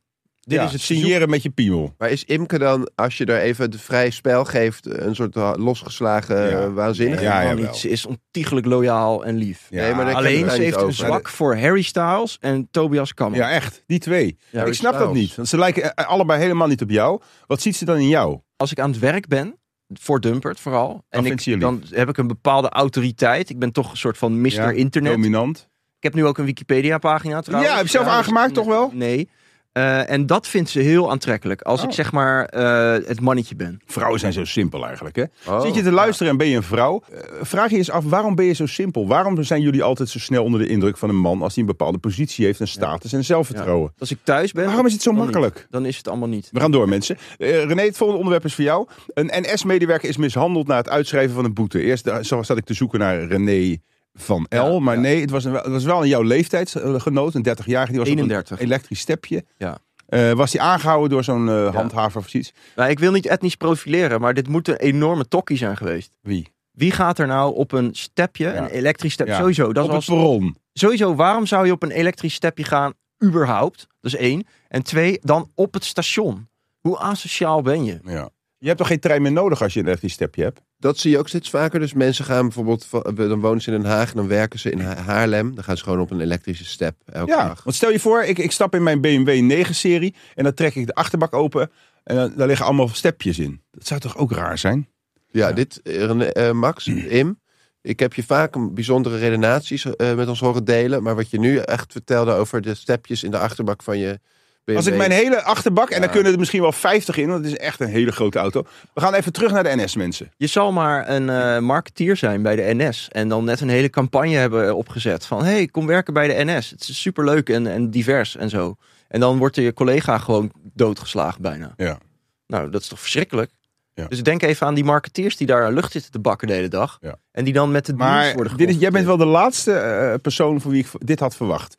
Dit
Ja,
is het signeren.
signeren met je piemel.
Maar is Imke dan, als je er even het vrij spel geeft, een soort ha- losgeslagen
Ja.
eh, waanzinnige?
Ja,
Helemaal
jawel.
niet. Ze is ontiegelijk loyaal en lief.
Ja.
Nee, maar daar
Alleen,
kunnen we
ze
het
heeft
niet over.
een zwak voor Harry Styles en Tobias Kammer.
Ja, echt. Die twee. ik snap dat
Styles.
niet. Want ze lijken eh, allebei helemaal niet op jou. Wat ziet ze dan in jou?
als ik aan het werk ben, voor Dumpert vooral, en
vindt ze je
ik, dan heb ik een bepaalde autoriteit. Ik ben toch een soort van Mr.
Ja,
Internet.
Dominant.
Ik heb nu ook een Wikipedia-pagina trouwens.
Ja, heb je zelf aangemaakt,
dus-
toch wel?
Nee. Eh, en dat vindt ze heel aantrekkelijk. Als
Oh.
ik zeg maar eh, het mannetje ben.
Vrouwen zijn zo simpel eigenlijk, hè?
Oh.
Zit je te luisteren en ben je een vrouw? Eh, vraag je eens af, waarom ben je zo simpel? Waarom zijn jullie altijd zo snel onder de indruk van een man... als hij een bepaalde positie heeft en status en zelfvertrouwen?
Als ik thuis ben,
Waarom is het zo
dan niet.
makkelijk?
dan is het allemaal niet.
We gaan door, mensen. Eh, René, het volgende onderwerp is voor jou. Een NS-medewerker is mishandeld na het uitschrijven van een boete. Eerst eh, zo zat ik te zoeken naar René van L.
Ja,
maar
ja.
nee, het was, een, het was wel een jouw leeftijdsgenoot, een 30-jarige. Die was op
31.
een elektrisch stepje.
Ja.
Eh, was hij aangehouden door zo'n eh, handhaver of zoiets?
Nou, ik wil niet etnisch profileren, maar dit moet een enorme tokkie zijn geweest.
Wie?
Wie gaat er nou op een stepje,
Ja.
een elektrisch stepje,
Ja.
sowieso. Dat
op
is
het
als
perron.
sowieso, waarom zou je op een elektrisch stepje gaan, überhaupt? Dat is één. En twee, dan op het station. Hoe asociaal ben je?
Ja. Je hebt toch geen trein meer nodig als je een elektrisch stepje hebt?
Dat zie je ook steeds vaker. Dus mensen gaan bijvoorbeeld, van- eh, dan wonen ze in Den Haag, en dan werken ze in Ha- Haarlem. Dan gaan ze gewoon op een elektrische step elke
Ja,
dag.
want stel je voor, ik, ik stap in mijn BMW 9-serie en dan trek ik de achterbak open en dan, daar liggen allemaal stepjes in. Dat zou toch ook raar zijn?
Ja, dit, eh, René- eh, Max, Im, ik heb je vaak een bijzondere redenaties eh, met ons horen delen. Maar wat je nu echt vertelde over de stepjes in de achterbak van je BMW.
Als ik mijn hele achterbak, en daar
Ja.
kunnen er misschien wel 50 in, want het is echt een hele grote auto. We gaan even terug naar de NS, mensen.
Je zal maar een eh, marketeer zijn bij de NS. En dan net een hele campagne hebben opgezet. Van, hey, kom werken bij de NS. Het is superleuk en, en divers en zo. En dan wordt je collega gewoon doodgeslagen bijna.
Ja.
Nou, dat is toch verschrikkelijk?
Ja.
Dus denk even aan die marketeers die daar lucht zitten te bakken de hele dag.
Ja.
En die dan met het nieuws
Maar
worden
dit is, jij bent
geconfronteerd.
wel de laatste eh, persoon voor wie ik v- dit had verwacht.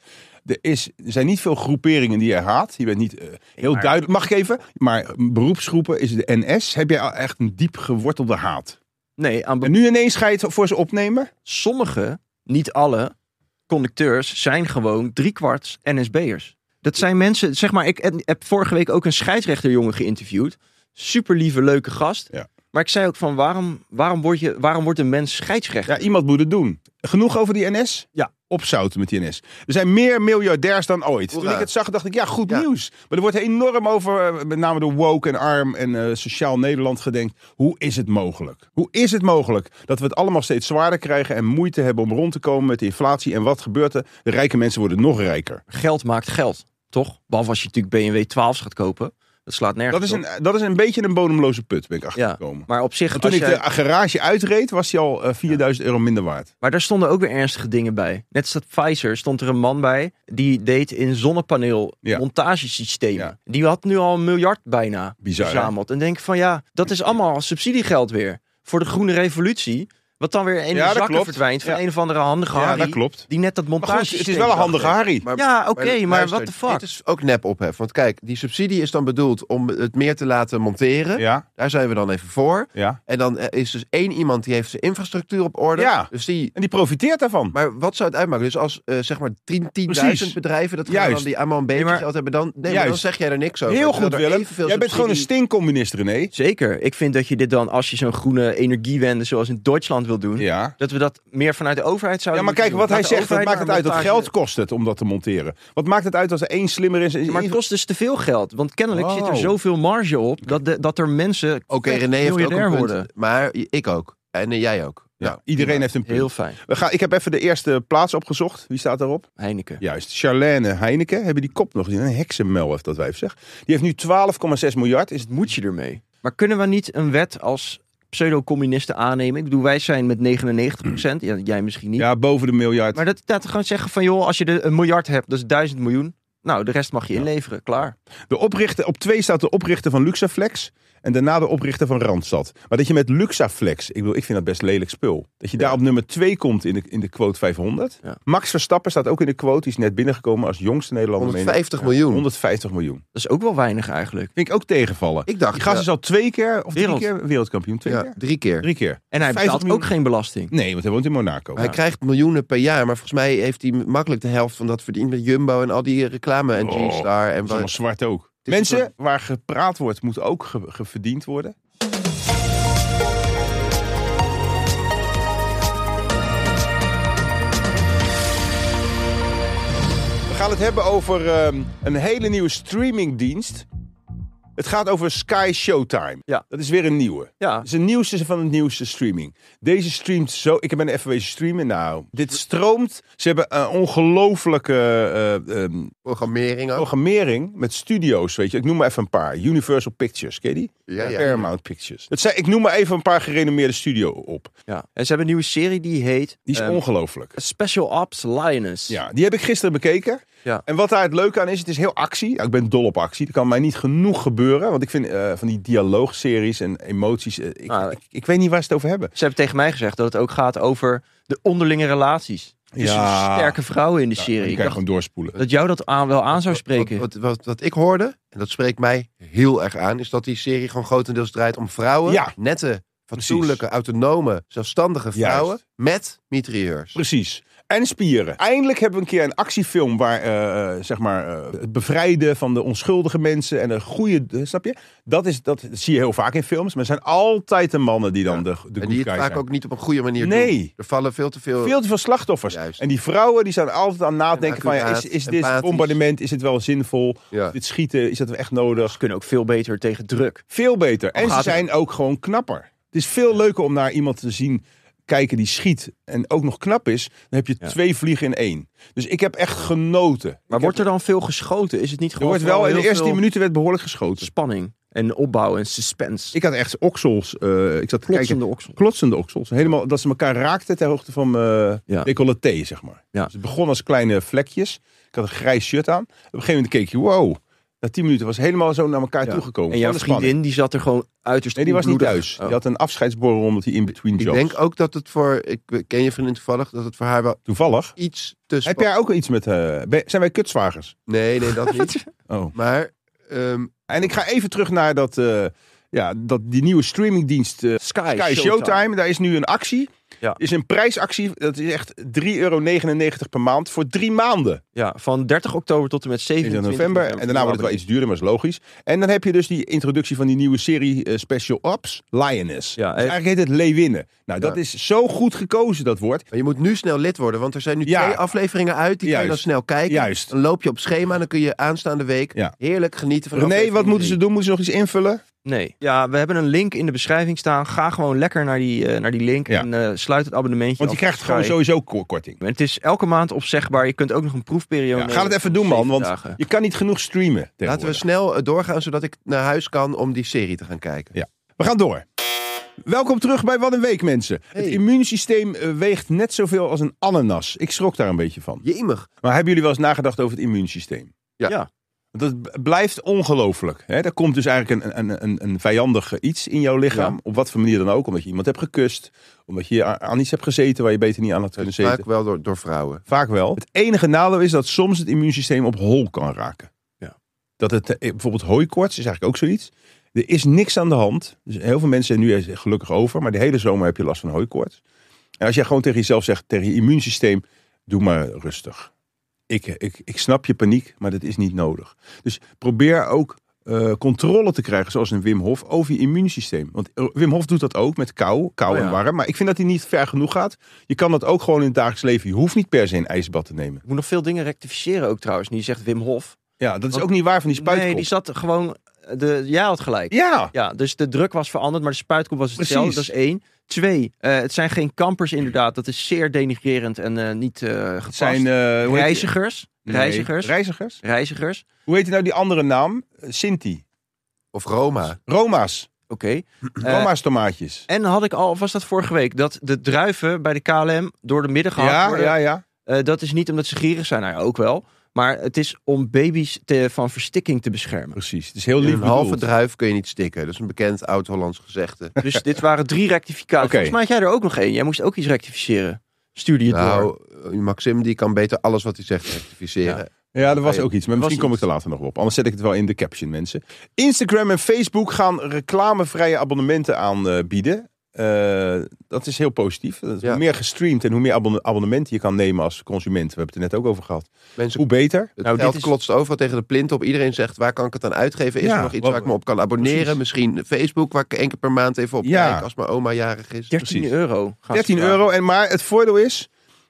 Er, is, er zijn niet veel groeperingen die je haat. Je bent niet eh, heel
maar-
duidelijk. Mag ik even? Maar beroepsgroepen is de NS. Heb jij al echt een diep gewortelde haat?
Nee, aan be-
En nu ineens ga je het voor ze opnemen?
sommige, niet alle, conducteurs zijn gewoon driekwarts NSB'ers. Dat zijn mensen, zeg maar, ik en- heb vorige week ook een scheidsrechterjongen geïnterviewd. Super lieve, leuke gast.
Ja.
Maar ik zei ook van, waarom, waarom, word je, waarom wordt een mens
Ja,
scheidsrechter?
iemand moet het doen. Genoeg over die NS? opzouten met die NS. Er zijn meer miljardairs dan ooit. Toen
Hoera.
ik het zag, dacht ik, ja, goed
Ja.
nieuws. Maar er wordt enorm over, eh, met name door woke en arm en eh, sociaal Nederland gedenkt. Hoe is het mogelijk? Hoe is het mogelijk dat we het allemaal steeds zwaarder krijgen en moeite hebben om rond te komen met de inflatie? En wat gebeurt er? De rijke mensen worden nog rijker.
Geld maakt geld, toch? Behalve als je natuurlijk BMW 12 gaat kopen. Dat slaat nergens
Dat is
op.
een, dat is een beetje een bodemloze put, ben ik
Ja,
achtergekomen.
maar op zich...
Want toen
als
ik
jij-
de garage uitreed, was die al eh, 4000 euro minder waard.
Maar daar stonden ook weer ernstige dingen bij. Net als dat Pfizer stond er een man bij die deed in zonnepaneel
Ja.
montagesystemen.
Ja.
Die had nu al een miljard bijna
Bizar, hè?
verzameld. En denk van ja, dat is allemaal subsidiegeld weer voor de groene revolutie. Wat dan weer in
Ja,
de
dat
zakken
klopt.
verdwijnt van
Ja.
een of andere handige
Ja,
Harry
dat klopt.
Die net dat
Maar goed,
montage.
het is wel een handige Harry.
Maar-
Ja, oké, maar
luister,
what the fuck?
Dit is ook nep ophef. Want kijk, die subsidie is dan bedoeld om het meer te laten monteren.
Ja,
Daar zijn we dan even voor.
ja.
En dan eh, is dus één iemand die heeft zijn infrastructuur op orde.
Ja.
Dus die...
En die profiteert daarvan.
Maar wat zou het uitmaken? Dus als eh, zeg maar 10 10.000
Precies.
bedrijven dat
Juist.
gaan dan die allemaal een beetje
Nee, maar-
geld hebben, dan, nee, maar
Juist.
dan zeg jij er niks over.
Heel
Terwijl
goed,
er
Willem. Jij
evenveel
bent gewoon een
subsidie-
stinkcommunist, René.
Zeker. Ik vind dat je dit dan als je zo'n groene energiewende zoals in Duitsland wil doen,
Hm? Ja.
dat we dat meer vanuit de overheid
Ja,
zouden.
maar kijk,
moeten
wat
doen.
hij
Laat de
zegt, wat
overheid
maakt het
maar
uit? Dat
montage-
geld kost het om dat te monteren. Wat maakt het uit als er één slimmer is?
Maar het kost dus te veel geld. Want kennelijk zit er
Wow.
zoveel marge op dat, de- dat er mensen
Oké,
vet
René heeft ook
miljardair
een punt.
worden.
Maar ik ook. En eh, jij ook.
Ja,
Nou,
iedereen heeft een punt.
Heel fijn.
We gaan, ik heb even de eerste plaats opgezocht. Wie staat daarop?
Heineken.
Juist, Charlene Heineken. Hebben die kop nog gezien? Een heksenmel heeft dat wijf, zeg. Die heeft nu 12,6 miljard. Is het
Moet je ermee? Maar kunnen we niet een wet als pseudo-communisten aannemen? Ik bedoel, wij zijn met 99 ja, jij misschien niet.
ja, boven de miljard.
Maar dat, dat gewoon zeggen van, joh, als je er een miljard hebt, dat is duizend miljoen. Nou, de rest mag je inleveren, klaar.
De oprichter, op twee staat de oprichter van Luxaflex. En daarna de oprichter van Randstad. Maar dat je met Luxaflex, ik, bedoel, ik vind dat best lelijk spul. Dat je daar op nummer 2 komt in de, in de quote 500.
Ja.
Max Verstappen staat ook in de quote. Die is net binnengekomen als jongste Nederlander. meen ik.
150 miljoen.
150 miljoen.
Dat is ook wel weinig eigenlijk.
Vind ik ook tegenvallen.
Ik dacht,
Die gast
ja.
is al twee keer of drie
Wereld.
keer wereldkampioen. Twee
ja,
keer?
drie keer.
Drie keer.
En hij
50
betaalt
miljoen.
ook geen belasting.
Nee, want hij woont in Monaco.
Hij krijgt miljoenen per jaar, maar volgens mij heeft hij makkelijk de helft van dat verdiend met Jumbo en al die reclame en
Oh,
G-Star.
Dat
En
is allemaal
wat.
zwart ook.
is
Mensen
een soort-
waar gepraat wordt, moet ook ge- geverdiend worden. We gaan het hebben over ehm, een hele nieuwe streamingdienst. Het gaat over Sky Showtime.
Ja.
Dat is weer een nieuwe.
Ja,
Het is de nieuwste van het nieuwste streaming. Deze streamt zo. Ik ben even wezen streamen. Nou, dit stroomt. Ze hebben een ongelofelijke eh, ehm,
Programmering ook.
programmering met studio's, weet je. Ik noem maar even een paar. Universal Pictures, ken je die?
Ja, ja.
Paramount Pictures. Het zijn, ik noem maar even een paar gerenommeerde studio op.
ja. En ze hebben een nieuwe serie die heet...
Die is
ehm,
ongelooflijk.
Special Ops Lioness.
Ja, die heb ik gisteren bekeken.
Ja.
En wat daar het leuke aan is, het is heel actie. Ja, ik ben dol op actie. Er kan mij niet genoeg gebeuren. Want ik vind eh, van die dialoogseries en emoties... eh, ik,
Nou,
ik, ik weet niet waar ze het over hebben.
Ze hebben tegen mij gezegd dat het ook gaat over de onderlinge relaties. Tussen
Ah. Ja.
sterke vrouwen in de
Die kan
serie.
je
Ik dacht
gewoon doorspoelen.
dat jou dat aan, wel aan zou spreken.
Wat, wat, wat, wat ik hoorde, en dat spreekt mij heel erg aan, is dat die serie gewoon grotendeels draait om vrouwen.
Ja.
Nette, fatsoenlijke, autonome, zelfstandige vrouwen
Juist.
met mitrailleurs.
Precies. En spieren. Eindelijk hebben we een keer een actiefilm waar eh, zeg maar, eh, het bevrijden van de onschuldige mensen en een goede. eh, snap je? Dat, is, dat zie je heel vaak in films. Maar het zijn altijd de mannen die dan
Ja.
de, de good
En die het
guys
vaak
zijn.
ook niet op een goede manier
Nee.
doen. Er vallen veel te veel...
Veel te veel slachtoffers.
Juist.
En die vrouwen die zijn altijd aan het nadenken: van, ja, is,
accuraat,
is dit
empathisch.
bombardement is dit wel zinvol?
Ja.
Is dit schieten, is dat echt nodig?
Ze kunnen ook veel beter tegen druk.
Veel beter. En ze
Oh, gaat het-
zijn ook gewoon knapper. Het is veel leuker om naar iemand te zien kijken die schiet en ook nog knap is. Dan heb je
Ja.
twee vliegen in één. Dus ik heb echt genoten.
Maar
Ik heb
wordt er dan veel geschoten? Is het niet
Er
gewoon
wordt wel
vooral
in de
heel
eerste 10
veel
minuten werd behoorlijk geschoten.
spanning en opbouw en suspense?
Ik had echt oksels. eh, ik zat te kijken.
Klotsende oksel.
Klotsende oksels. Helemaal dat ze elkaar raakten ter hoogte van eh, mijn
Ja.
decolleté, zeg maar.
Ja.
Dus het begon als kleine vlekjes. Ik had een grijs shirt aan. Op een gegeven moment keek je, wow. Na 10 minuten was het helemaal zo naar elkaar
Ja.
toegekomen.
En jouw
Van de spanning.
vriendin die zat er gewoon uiterst
Nee, die was niet
koelbloedig.
thuis.
Oh.
Die had een afscheidsborrel omdat hij in between
Ik
jobs.
denk ook dat het voor... Ik ken je vriendin toevallig, dat het voor haar wel
Toevallig.
iets te
Heb
spannend...
jij ook iets met... eh, ben- zijn wij kutzwagers?
Nee, nee, dat niet.
Oh.
Maar ehm,
En ik ga even terug naar dat, eh, ja, dat, die nieuwe streamingdienst eh,
Sky,
Sky Showtime. Daar is nu een actie.
Ja.
Is een prijsactie, dat is echt 3,99 euro per maand voor drie maanden.
Ja, van 30 oktober tot en met 27
in november. En daarna wordt het wel iets duurder, maar is logisch. En dan heb je dus die introductie van die nieuwe serie eh, Special Ops, Lioness.
Ja,
dus
eh,
eigenlijk heet het Leeuwinnen. Nou, dat
Ja.
is zo goed gekozen, dat woord.
Maar je moet nu snel lid worden, want er zijn nu
Ja.
twee afleveringen uit. Die kun
Juist.
je dan snel kijken.
Juist.
Dan loop je op schema en dan kun je aanstaande week
Ja.
heerlijk genieten van
René, wat
aflevering
moeten ze
drie.
doen? Moeten ze nog iets invullen?
Nee. Ja, we hebben een link in de beschrijving staan. Ga gewoon lekker naar die, eh, naar die link
Ja.
en eh, sluit het abonnementje
Want je
af.
krijgt gewoon
Sky.
sowieso ko- korting.
En het is elke maand opzegbaar. Je kunt ook nog een proefperiode
Ja, ga het
nemen
even
van
doen, man.
zeven
Want
dagen.
je kan niet genoeg streamen.
Laten we
tegenwoordig.
snel eh, doorgaan, zodat ik naar huis kan om die serie te gaan kijken.
We gaan door. Welkom terug bij Wat een Week, mensen. Het
Hey.
immuunsysteem eh, weegt net zoveel als een ananas. Ik schrok daar een beetje van.
Jemig.
Maar hebben jullie wel eens nagedacht over het immuunsysteem?
Ja.
Ja.
Want Dat b- blijft ongelooflijk. hè? Er komt dus eigenlijk een, een, een, een vijandig iets in jouw lichaam. Op wat voor manier dan ook. Omdat je iemand hebt gekust. Omdat je a- aan iets hebt gezeten waar je beter niet aan had kunnen zitten.
Vaak wel door, door vrouwen.
Vaak wel. Het enige nadeel is dat soms het immuunsysteem op hol kan raken.
Ja.
Dat het, eh, bijvoorbeeld hooikoorts is eigenlijk ook zoiets. Er is niks aan de hand. Dus heel veel mensen, nu is het gelukkig over, maar de hele zomer heb je last van hooikoorts. En als jij gewoon tegen jezelf zegt, tegen je immuunsysteem, doe maar rustig. Ik, eh, ik, ik snap je paniek, maar dat is niet nodig. Dus probeer ook eh, controle te krijgen, zoals een Wim Hof, over je immuunsysteem. Want eh, Wim Hof doet dat ook met kou, kou
Oh ja.
en warm. Maar ik vind dat hij niet ver genoeg gaat. Je kan dat ook gewoon in het dagelijks leven. Je hoeft niet per se een ijsbad te nemen.
Ik moet nog veel dingen rectificeren ook trouwens. Nu je zegt Wim Hof.
Ja, dat is
Want-
ook niet waar van die
Nee,
spuitkop.
die zat gewoon... eh, De, jij had gelijk.
Ja,
Ja, dus de druk was veranderd, maar de spuitkop was hetzelfde.
Precies.
Dat is één. Twee, eh, het zijn geen kampers inderdaad. Dat is zeer denigrerend en eh, niet eh gepast.
het zijn... eh, hoe heet die-
reizigers.
Nee,
Reizigers.
Reizigers?
Reizigers.
Hoe heet die nou die andere naam? Eh, Sinti.
Of Roma.
Roma's.
Oké. Eh,
Roma's tomaatjes.
en had ik al, of was dat vorige week, dat de druiven bij de KLM door de midden gehakt
Ja,
worden.
ja, ja.
Eh, dat is niet omdat ze gierig zijn, nou ja, ook wel. Maar het is om baby's te- van verstikking te beschermen.
Precies. Het is heel
In
lief
een halve
bedoeld.
druif kun je niet stikken. Dat is een bekend oud-Hollands gezegde.
Dus dit waren drie rectificaties.
Oké.
Volgens mij had jij er ook nog één. Jij moest ook iets rectificeren. Stuurde je het door.
Nou, eh, Maxim die kan beter alles wat hij zegt rectificeren.
Ja, er was
Ja,
ook iets, maar
was
misschien kom ik
iets.
er later nog op. Anders zet ik het wel in de caption, mensen. Instagram en Facebook gaan reclamevrije abonnementen aanbieden. Eh, dat is heel positief. Dat is
Ja.
Hoe meer gestreamd en hoe meer abonne- abonnementen je kan nemen als consument. We hebben het er net ook over gehad.
Mensen,
Hoe beter.
het
Nou, dit
geld
is-
klotst overal tegen de plint op. Iedereen zegt, waar kan ik het aan uitgeven? Is
Ja,
er nog iets
wat-
waar ik me op kan abonneren?
Precies.
Misschien Facebook, waar ik één keer per maand even op
Ja.
kijk als mijn oma jarig is.
13
precies.
euro. gaan ze
13
vragen.
euro. En maar het voordeel is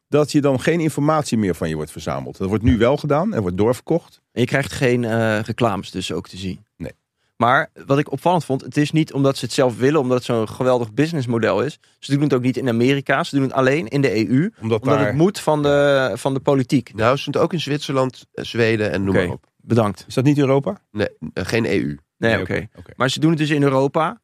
dat je dan geen informatie meer van je wordt verzameld. Dat wordt nu wel gedaan en wordt doorverkocht.
En je krijgt geen eh, reclames dus ook te zien.
Nee.
Maar wat ik opvallend vond, het is niet omdat ze het zelf willen, omdat het zo'n geweldig businessmodel is. Ze doen het ook niet in Amerika, ze doen het alleen in de EU.
Omdat,
Omdat
daar...
het moet van de, van de politiek.
Nou, ze zijn het ook in Zwitserland, eh, Zweden en noem
Oké.
maar op.
Bedankt.
Is dat niet Europa?
Nee, eh, geen EU.
Nee, oké. Maar ze doen het dus in Europa.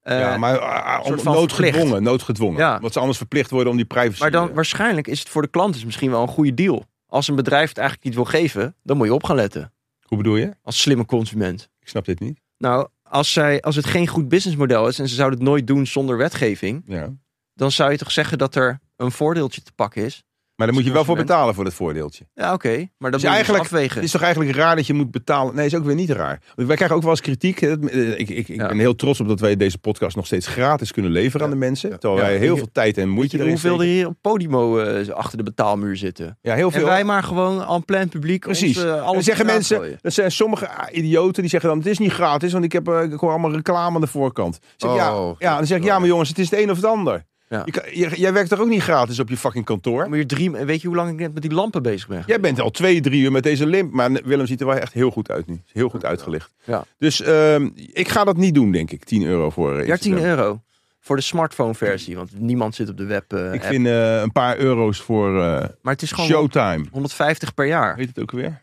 Eh,
ja, maar ah,
soort
om-
van
noodgedwongen.
verplicht.
noodgedwongen.
Ja.
Want ze anders verplicht worden om die privacy...
maar dan
eh,
waarschijnlijk is het voor de klant dus misschien wel een goede deal. Als een bedrijf het eigenlijk niet wil geven, dan moet je op gaan letten.
Hoe bedoel je?
Als slimme consument.
Ik snap dit niet.
Nou, als, zij, als het geen goed businessmodel is en ze zouden het nooit doen zonder wetgeving,
Ja.
dan zou je toch zeggen dat er een voordeeltje te pakken is.
Maar daar moet je wel voor
Consument.
betalen voor dat voordeeltje.
Ja, oké. Maar dat
Dus
moet je dus
eigenlijk
afwegen.
Het is toch eigenlijk raar dat je moet betalen? Nee, is ook weer niet raar. Want Wij krijgen ook wel eens kritiek. hè, dat- eh, Ik, ik, ik
Ja.
ben heel trots op dat wij deze podcast nog steeds gratis kunnen leveren aan de mensen. Terwijl
Ja.
wij heel veel tijd en moeite erin
Hoeveel er
steken.
hier op Podimo eh, achter de betaalmuur zitten.
Ja, heel veel.
En wij maar gewoon aan plein publiek
Precies.
ons, eh, alles
Dan zeggen
eraan
mensen,
gooien.
dat zijn sommige ah, idioten die zeggen dan, het is niet gratis, want ik, heb, eh, ik hoor allemaal reclame aan de voorkant. Ik Zeg, ja,
Oh,
ja, dan zeg ik, ja, maar jongens, het is het een of het ander.
Ja.
Je kan- je- jij werkt toch ook niet gratis op je fucking kantoor?
Dan moet je drie, weet je hoe lang ik net met die lampen bezig ben?
Jij bent al twee, drie uur met deze limp. Maar Willem ziet er wel echt heel goed uit nu. Is Heel goed uitgelicht.
Ja.
Dus ehm, ik ga dat niet doen, denk ik. 10 euro voor eh,
Ja, 10
Instagram.
euro. Voor de smartphone versie, want niemand zit op de web. eh,
Ik
app.
vind eh, een paar euro's voor eh,
maar het is gewoon
Showtime.
150 per jaar.
Weet het ook weer?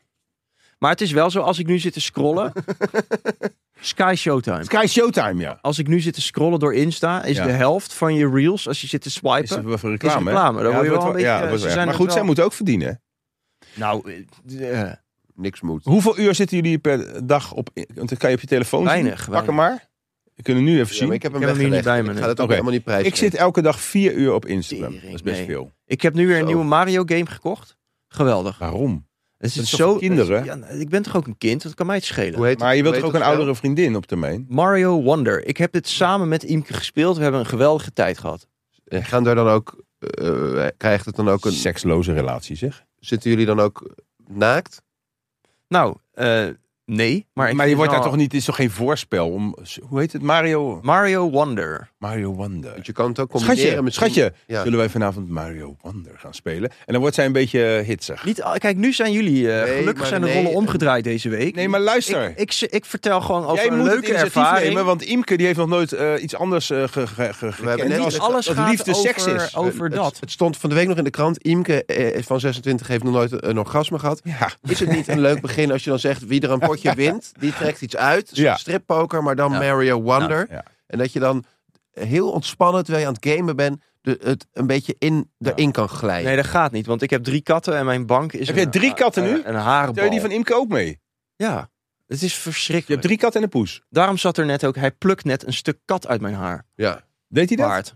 Maar het is wel zo, als ik nu zit te scrollen. Sky Showtime.
Sky Showtime, ja.
Als ik nu zit te scrollen door Insta, is
Ja.
de helft van je reels, als je zit te
Is het
swipen.
wel voor reclame? hè?
reclame, dan
Ja,
word je
dat
wel
wordt
een
ja,
beetje-
dat wordt
ze
erg.
zijn
Maar
er
goed, zij
wel-
moeten ook verdienen. hè?
Nou, eh, eh,
Niks moet.
Hoeveel uur zitten jullie per dag op? Want dan kan je op je telefoon
Weinig,
zien. Pak
weinig.
hem maar. We kunnen nu even
Ja,
zien.
maar ik
ik,
heb hem
Ik heb hem
weggelegd.
hier niet bij me,
Ik
nee.
ga dat ook
Oké.
helemaal niet prijzen.
zit elke dag vier uur op Instagram.
Tering,
dat is best
nee.
veel.
ik heb nu weer een
Zo.
nieuwe Mario game gekocht. Geweldig.
Waarom?
Het
Dat
is
is toch
zo.
voor kinderen?
Ja, nou, ik ben toch ook een kind, dat kan mij het schelen.
Hoe heet
Maar je
hoe
wilt
heet
toch ook een
dat spel?
oudere vriendin op termijn?
Mario Wonder. Ik heb dit samen met Imke gespeeld. We hebben een geweldige tijd gehad.
En nou? gaan daar dan ook, eh, krijgt het dan ook een,
Seksloze relatie, zeg.
zitten jullie dan ook naakt?
Nou, eh, nee. Maar, ik
Maar je
vind
wordt daar
wel-
toch niet, het is toch geen voorspel om, hoe heet het, Mario,
Mario Wonder.
Mario Wonder.
Want je kan het ook combineren
Schatje,
misschien.
schatje,
Ja.
zullen wij vanavond Mario Wonder gaan spelen? En dan wordt zij een beetje eh, hitsig.
Niet, al- kijk, nu zijn jullie. eh,
Nee,
gelukkig
maar
zijn de
nee,
rollen
eh,
omgedraaid deze week.
Nee, maar luister.
Ik, ik, ik vertel gewoon over
Jij
een
moet het
leuke
initiatief
ervaring.
nemen, want Imke die heeft nog nooit eh, iets anders eh ge, ge, ge,
We hebben
gekend
net
als-
alles
dat liefde
over,
seks is.
over
Eh, Het-
dat.
Het, stond van de week nog in de krant. Imke eh, van 26 heeft nog nooit een orgasme gehad.
Ja.
Is het niet een leuk begin als je dan zegt wie er een potje wint, die trekt iets uit. Een soort
Ja.
Strippoker, maar dan
Ja.
Mario Wonder.
Ja, ja.
En dat je dan heel ontspannen terwijl je aan het gamen bent, de, het een beetje in, erin kan glijden.
Nee, dat gaat niet, want ik heb drie katten en mijn bank is.
Heb
een-
jij drie katten
eh,
nu?
Een harenbal.
Tel je die van Imke ook mee?
Ja, het is verschrikkelijk.
Je hebt drie katten en een poes.
Daarom zat er net ook, hij plukt net een stuk kat uit mijn haar.
Ja.
Deed hij dat?
Paard.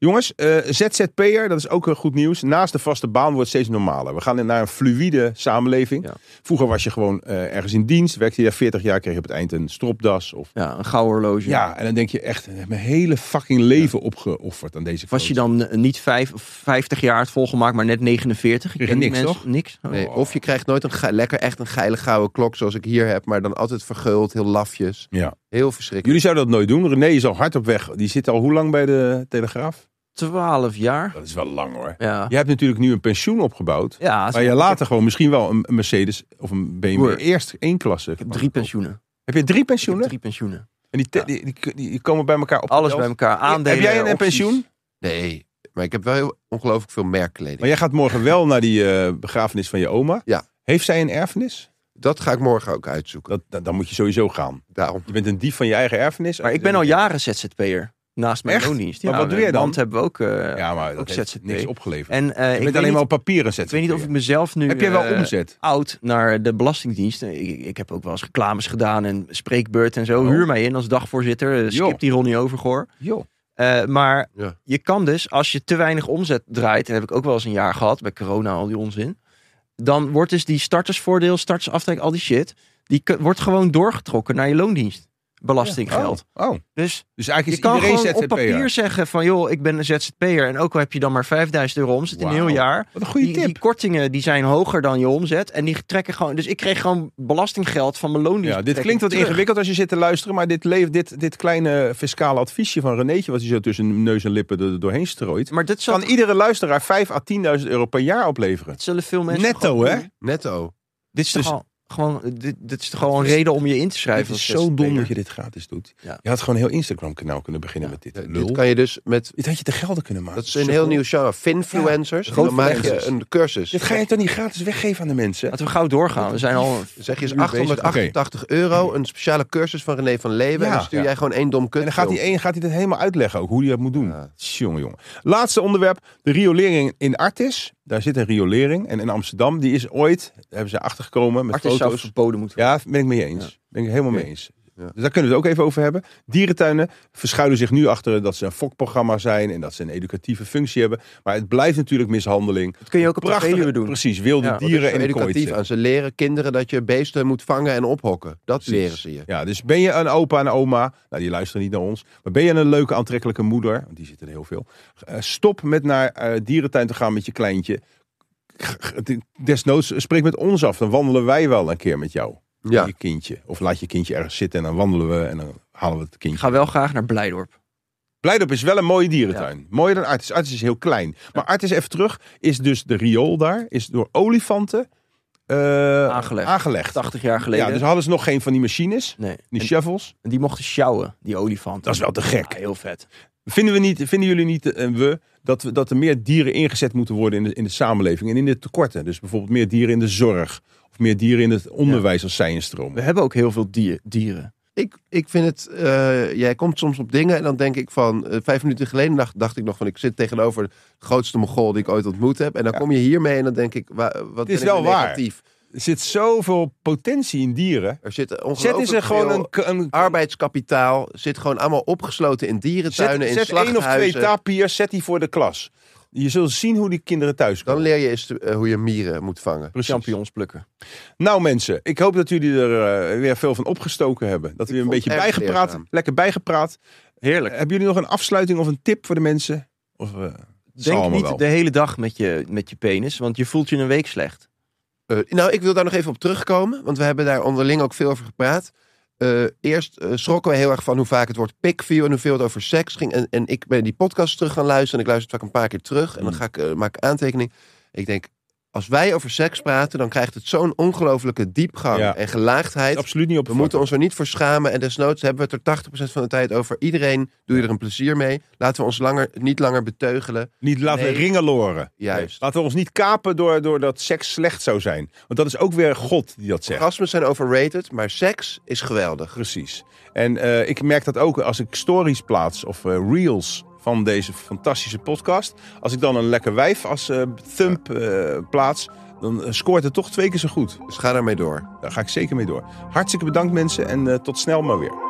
Jongens, eh, ZZP'er, dat is ook eh, goed nieuws. Naast de vaste baan wordt het steeds normaler. We gaan naar een fluïde samenleving.
Ja.
Vroeger was je gewoon eh, ergens in dienst. Werkte je daar 40 jaar, kreeg je op het eind een stropdas. Of...
Ja, een gouden horloge.
Ja, en dan denk je echt, ik heb mijn hele fucking leven opgeofferd aan deze
Was je dan eh, niet vijf, of 50 jaar het volgemaakt, maar net 49? Ik
Kreeg je
ken die
niks,
mensen- Niks. Oh.
Nee, of je krijgt nooit een ge- lekker echt een geile gouden klok zoals ik hier heb, maar dan altijd verguld, heel lafjes.
Ja.
Heel verschrikkelijk.
Jullie zouden dat nooit doen. René is al hard op weg. Die zit al hoe lang bij de Telegraaf?
12 jaar.
Dat is wel lang hoor.
Ja.
Je hebt natuurlijk nu een pensioen opgebouwd.
Ja,
Maar je later gewoon misschien wel een een Mercedes of een BMW
Broer.
eerst één klasse.
ik heb drie pensioenen.
Heb je drie
Ik heb
pensioenen?
drie pensioenen.
En die, te-
Ja.
die, die, die komen bij elkaar op.
Alles bij elkaar. Aandelen.
Heb jij een
opties.
pensioen?
Nee, maar ik heb wel heel ongelooflijk veel merkkleding.
Maar jij gaat morgen wel naar die eh, begrafenis van je oma.
Ja.
Heeft zij een erfenis?
Dat ga ik morgen ook uitzoeken.
Dat, dan, dan moet je sowieso gaan.
Daarom.
Je bent een dief van je eigen erfenis. Eh,
Maar ik ben al jaren ZZP'er. Naast mijn
Echt?
loondienst.
Maar wat doe jij dan?
Want hebben we ook. eh,
Ja, maar dat
ook
heeft
ZZP.
niks opgeleverd.
En eh,
je
ik,
bent
weet
alleen
niet,
maar op papieren zet.
ik weet niet of ik mezelf nu.
Heb jij wel
eh,
omzet?
Oud naar de Belastingdienst. Ik, ik heb ook wel eens reclames gedaan en spreekbeurt en zo.
Oh.
Huur mij in als dagvoorzitter. Eh,
Joh.
Skip die Ronnie Overgoor.
Joh.
Eh, maar
Ja.
je kan dus, als je te weinig omzet draait, en dat heb ik ook wel eens een jaar gehad, bij corona al die onzin, dan wordt dus die startersvoordeel, startersaftrek, al die shit, die k- wordt gewoon doorgetrokken naar je loondienst. Belastinggeld.
Oh. oh.
Dus
Dus
je
eigenlijk is
kan
iedereen
gewoon op papier
ZZP'er.
zeggen van, joh, ik ben een ZZP'er en ook al heb je dan maar 5000 euro omzet in een heel
Wauw.
jaar,
Wat een goede
die,
tip.
die kortingen die zijn hoger dan je omzet en die trekken gewoon, dus ik kreeg gewoon belastinggeld van mijn loondienst.
Ja, dit klinkt wat ingewikkeld als je zit te luisteren, maar dit, leeft, dit, dit kleine fiscale adviesje van Renéetje, wat hij zo tussen neus en lippen er doorheen strooit,
Maar dit
kan
zal,
iedere luisteraar 5 à 10.000 euro per jaar opleveren.
dit zullen veel mensen
Netto,
gewoon
hè?
doen.
Netto.
Dit is toch
Dus-
al- gewoon, dit, dit is toch gewoon een reden om je in te schrijven.
Het is
als
zo dom
ZZP'er?
dat je dit gratis doet.
Ja.
Je had gewoon een heel Instagram-kanaal kunnen beginnen met dit.
Eh,
Lul.
Dit kan je dus met...
Dit had je te gelden kunnen maken.
Dat is een heel nieuw genre. Finfluencers. En dan maak je
Grootverleggers.
een cursus.
Dit ga je toch niet gratis weggeven aan de mensen?
Laten we gauw doorgaan. We zijn al.
Dan Zeg je is
Nu bezig.
888 euro, een speciale cursus van René van Leeuwen.
Ja.
en dan stuur
Ja.
jij gewoon één dom kut.
En dan gaat hij, één, gaat hij dit helemaal uitleggen ook, hoe hij dat moet doen.
Ja.
Jongen, jongen. Laatste onderwerp, de riolering in Artis. Daar zit een riolering. En in Amsterdam, die is ooit, hebben ze achtergekomen met
Artis zou
foto's.
verboden moeten
Ja, ben ik mee eens. Ben ik helemaal mee
Oké.
eens.
Ja.
Dus daar kunnen we het ook even over hebben. Dierentuinen verschuilen zich nu achter dat ze een fokprogramma zijn en dat ze een educatieve functie hebben. Maar het blijft natuurlijk mishandeling.
Dat kun je ook op de Veluwe doen.
Precies, wilde
Ja, wat is
dieren
Dieren
in een kooi
educatief
zetten.
aan. Ze leren kinderen dat je beesten moet vangen en ophokken. Dat
Precies.
leren ze je.
Ja, dus ben je een opa en een oma, nou die luisteren niet naar ons, maar ben je een leuke aantrekkelijke moeder, want die zitten er heel veel, eh, stop met naar eh, dierentuin te gaan met je kleintje. Desnoods eh, spreek met ons af, dan wandelen wij wel een keer met jou,
Ja.
je kindje. Of laat je kindje ergens zitten en dan wandelen we en dan halen we het kindje.
Ik ga wel graag naar Blijdorp.
Blijdorp is wel een mooie dierentuin. Mooier dan Artis. Artis is heel klein. Maar Artis, even terug, is dus de riool daar, is door olifanten eh,
Aangelegd. 80 jaar geleden.
Ja, dus hadden ze nog geen van die machines,
nee.
die
En-
shovels.
en die mochten sjouwen, die olifant.
Dat is wel te gek.
heel vet.
Vinden, we niet, vinden jullie niet, en we, dat, we, dat er meer dieren ingezet moeten worden in de, in de samenleving en in de tekorten? Dus bijvoorbeeld meer dieren in de zorg of meer dieren in het onderwijs als zij een stroom.
We hebben ook heel veel dier- dieren.
Ik, ik vind het, eh, jij komt soms op dingen en dan denk ik van, eh, vijf minuten geleden dacht, dacht ik nog van, ik zit tegenover de grootste mogol die ik ooit ontmoet heb. En dan
Ja.
kom je hiermee en dan denk ik, wa, wat
is
ben ik
wel
weer
waar.
negatief.
Er zit zoveel potentie in dieren.
Er zit
Zet
ongelooflijk
is er gewoon
veel
een, k- een
arbeidskapitaal, zit gewoon allemaal opgesloten in
zet,
dierentuinen, in
zet één of twee
slachthuizen.
tapiers, zet die voor de klas. Je zult zien hoe die kinderen thuis
Dan
komen.
leer je eens eh, hoe je mieren moet vangen.
Precies.
Champignons plukken.
Nou mensen, ik hoop dat jullie er eh, weer veel van opgestoken hebben. Dat we weer een
vond
beetje
het erg
bijgepraat, Eh,
leerzaam.
lekker bijgepraat.
Heerlijk.
Hebben jullie nog een afsluiting of een tip voor de mensen? Of, eh, zal
Denk
allemaal
niet
wel.
de hele dag met je, met je penis, want je voelt je een week slecht.
Eh, nou, ik wil daar nog even op terugkomen, want we hebben daar onderling ook veel over gepraat. Eh, eerst eh, schrokken we heel erg van hoe vaak het woord pik viel en hoeveel het over seks ging. En, en ik ben die podcast terug gaan luisteren en ik luister het vaak een paar keer terug. En dan
Mm.
ga ik, eh, maak ik aantekening. Ik denk, als wij over seks praten, dan krijgt het zo'n ongelofelijke diepgang
Ja.
en
Het is
gelaagdheid.
absoluut niet op
We moeten ons er niet voor schamen en desnoods hebben we het er 80% van de tijd over. Iedereen doe je er een plezier mee. Laten we ons langer, niet langer beteugelen.
Niet laten
Nee.
ringen loren.
Juist.
Laten we ons niet kapen door, door dat seks slecht zou zijn. Want dat is ook weer God die dat zegt.
Orgasmes zijn overrated, maar seks is geweldig.
Precies. En eh, ik merk dat ook als ik stories plaats of eh, reels van deze fantastische podcast. Als ik dan een lekker wijf als eh, thumb eh, plaats, dan eh, scoort het toch twee keer zo goed.
Dus ga daarmee door.
Daar ga ik zeker mee door. Hartstikke bedankt mensen en eh, tot snel maar weer.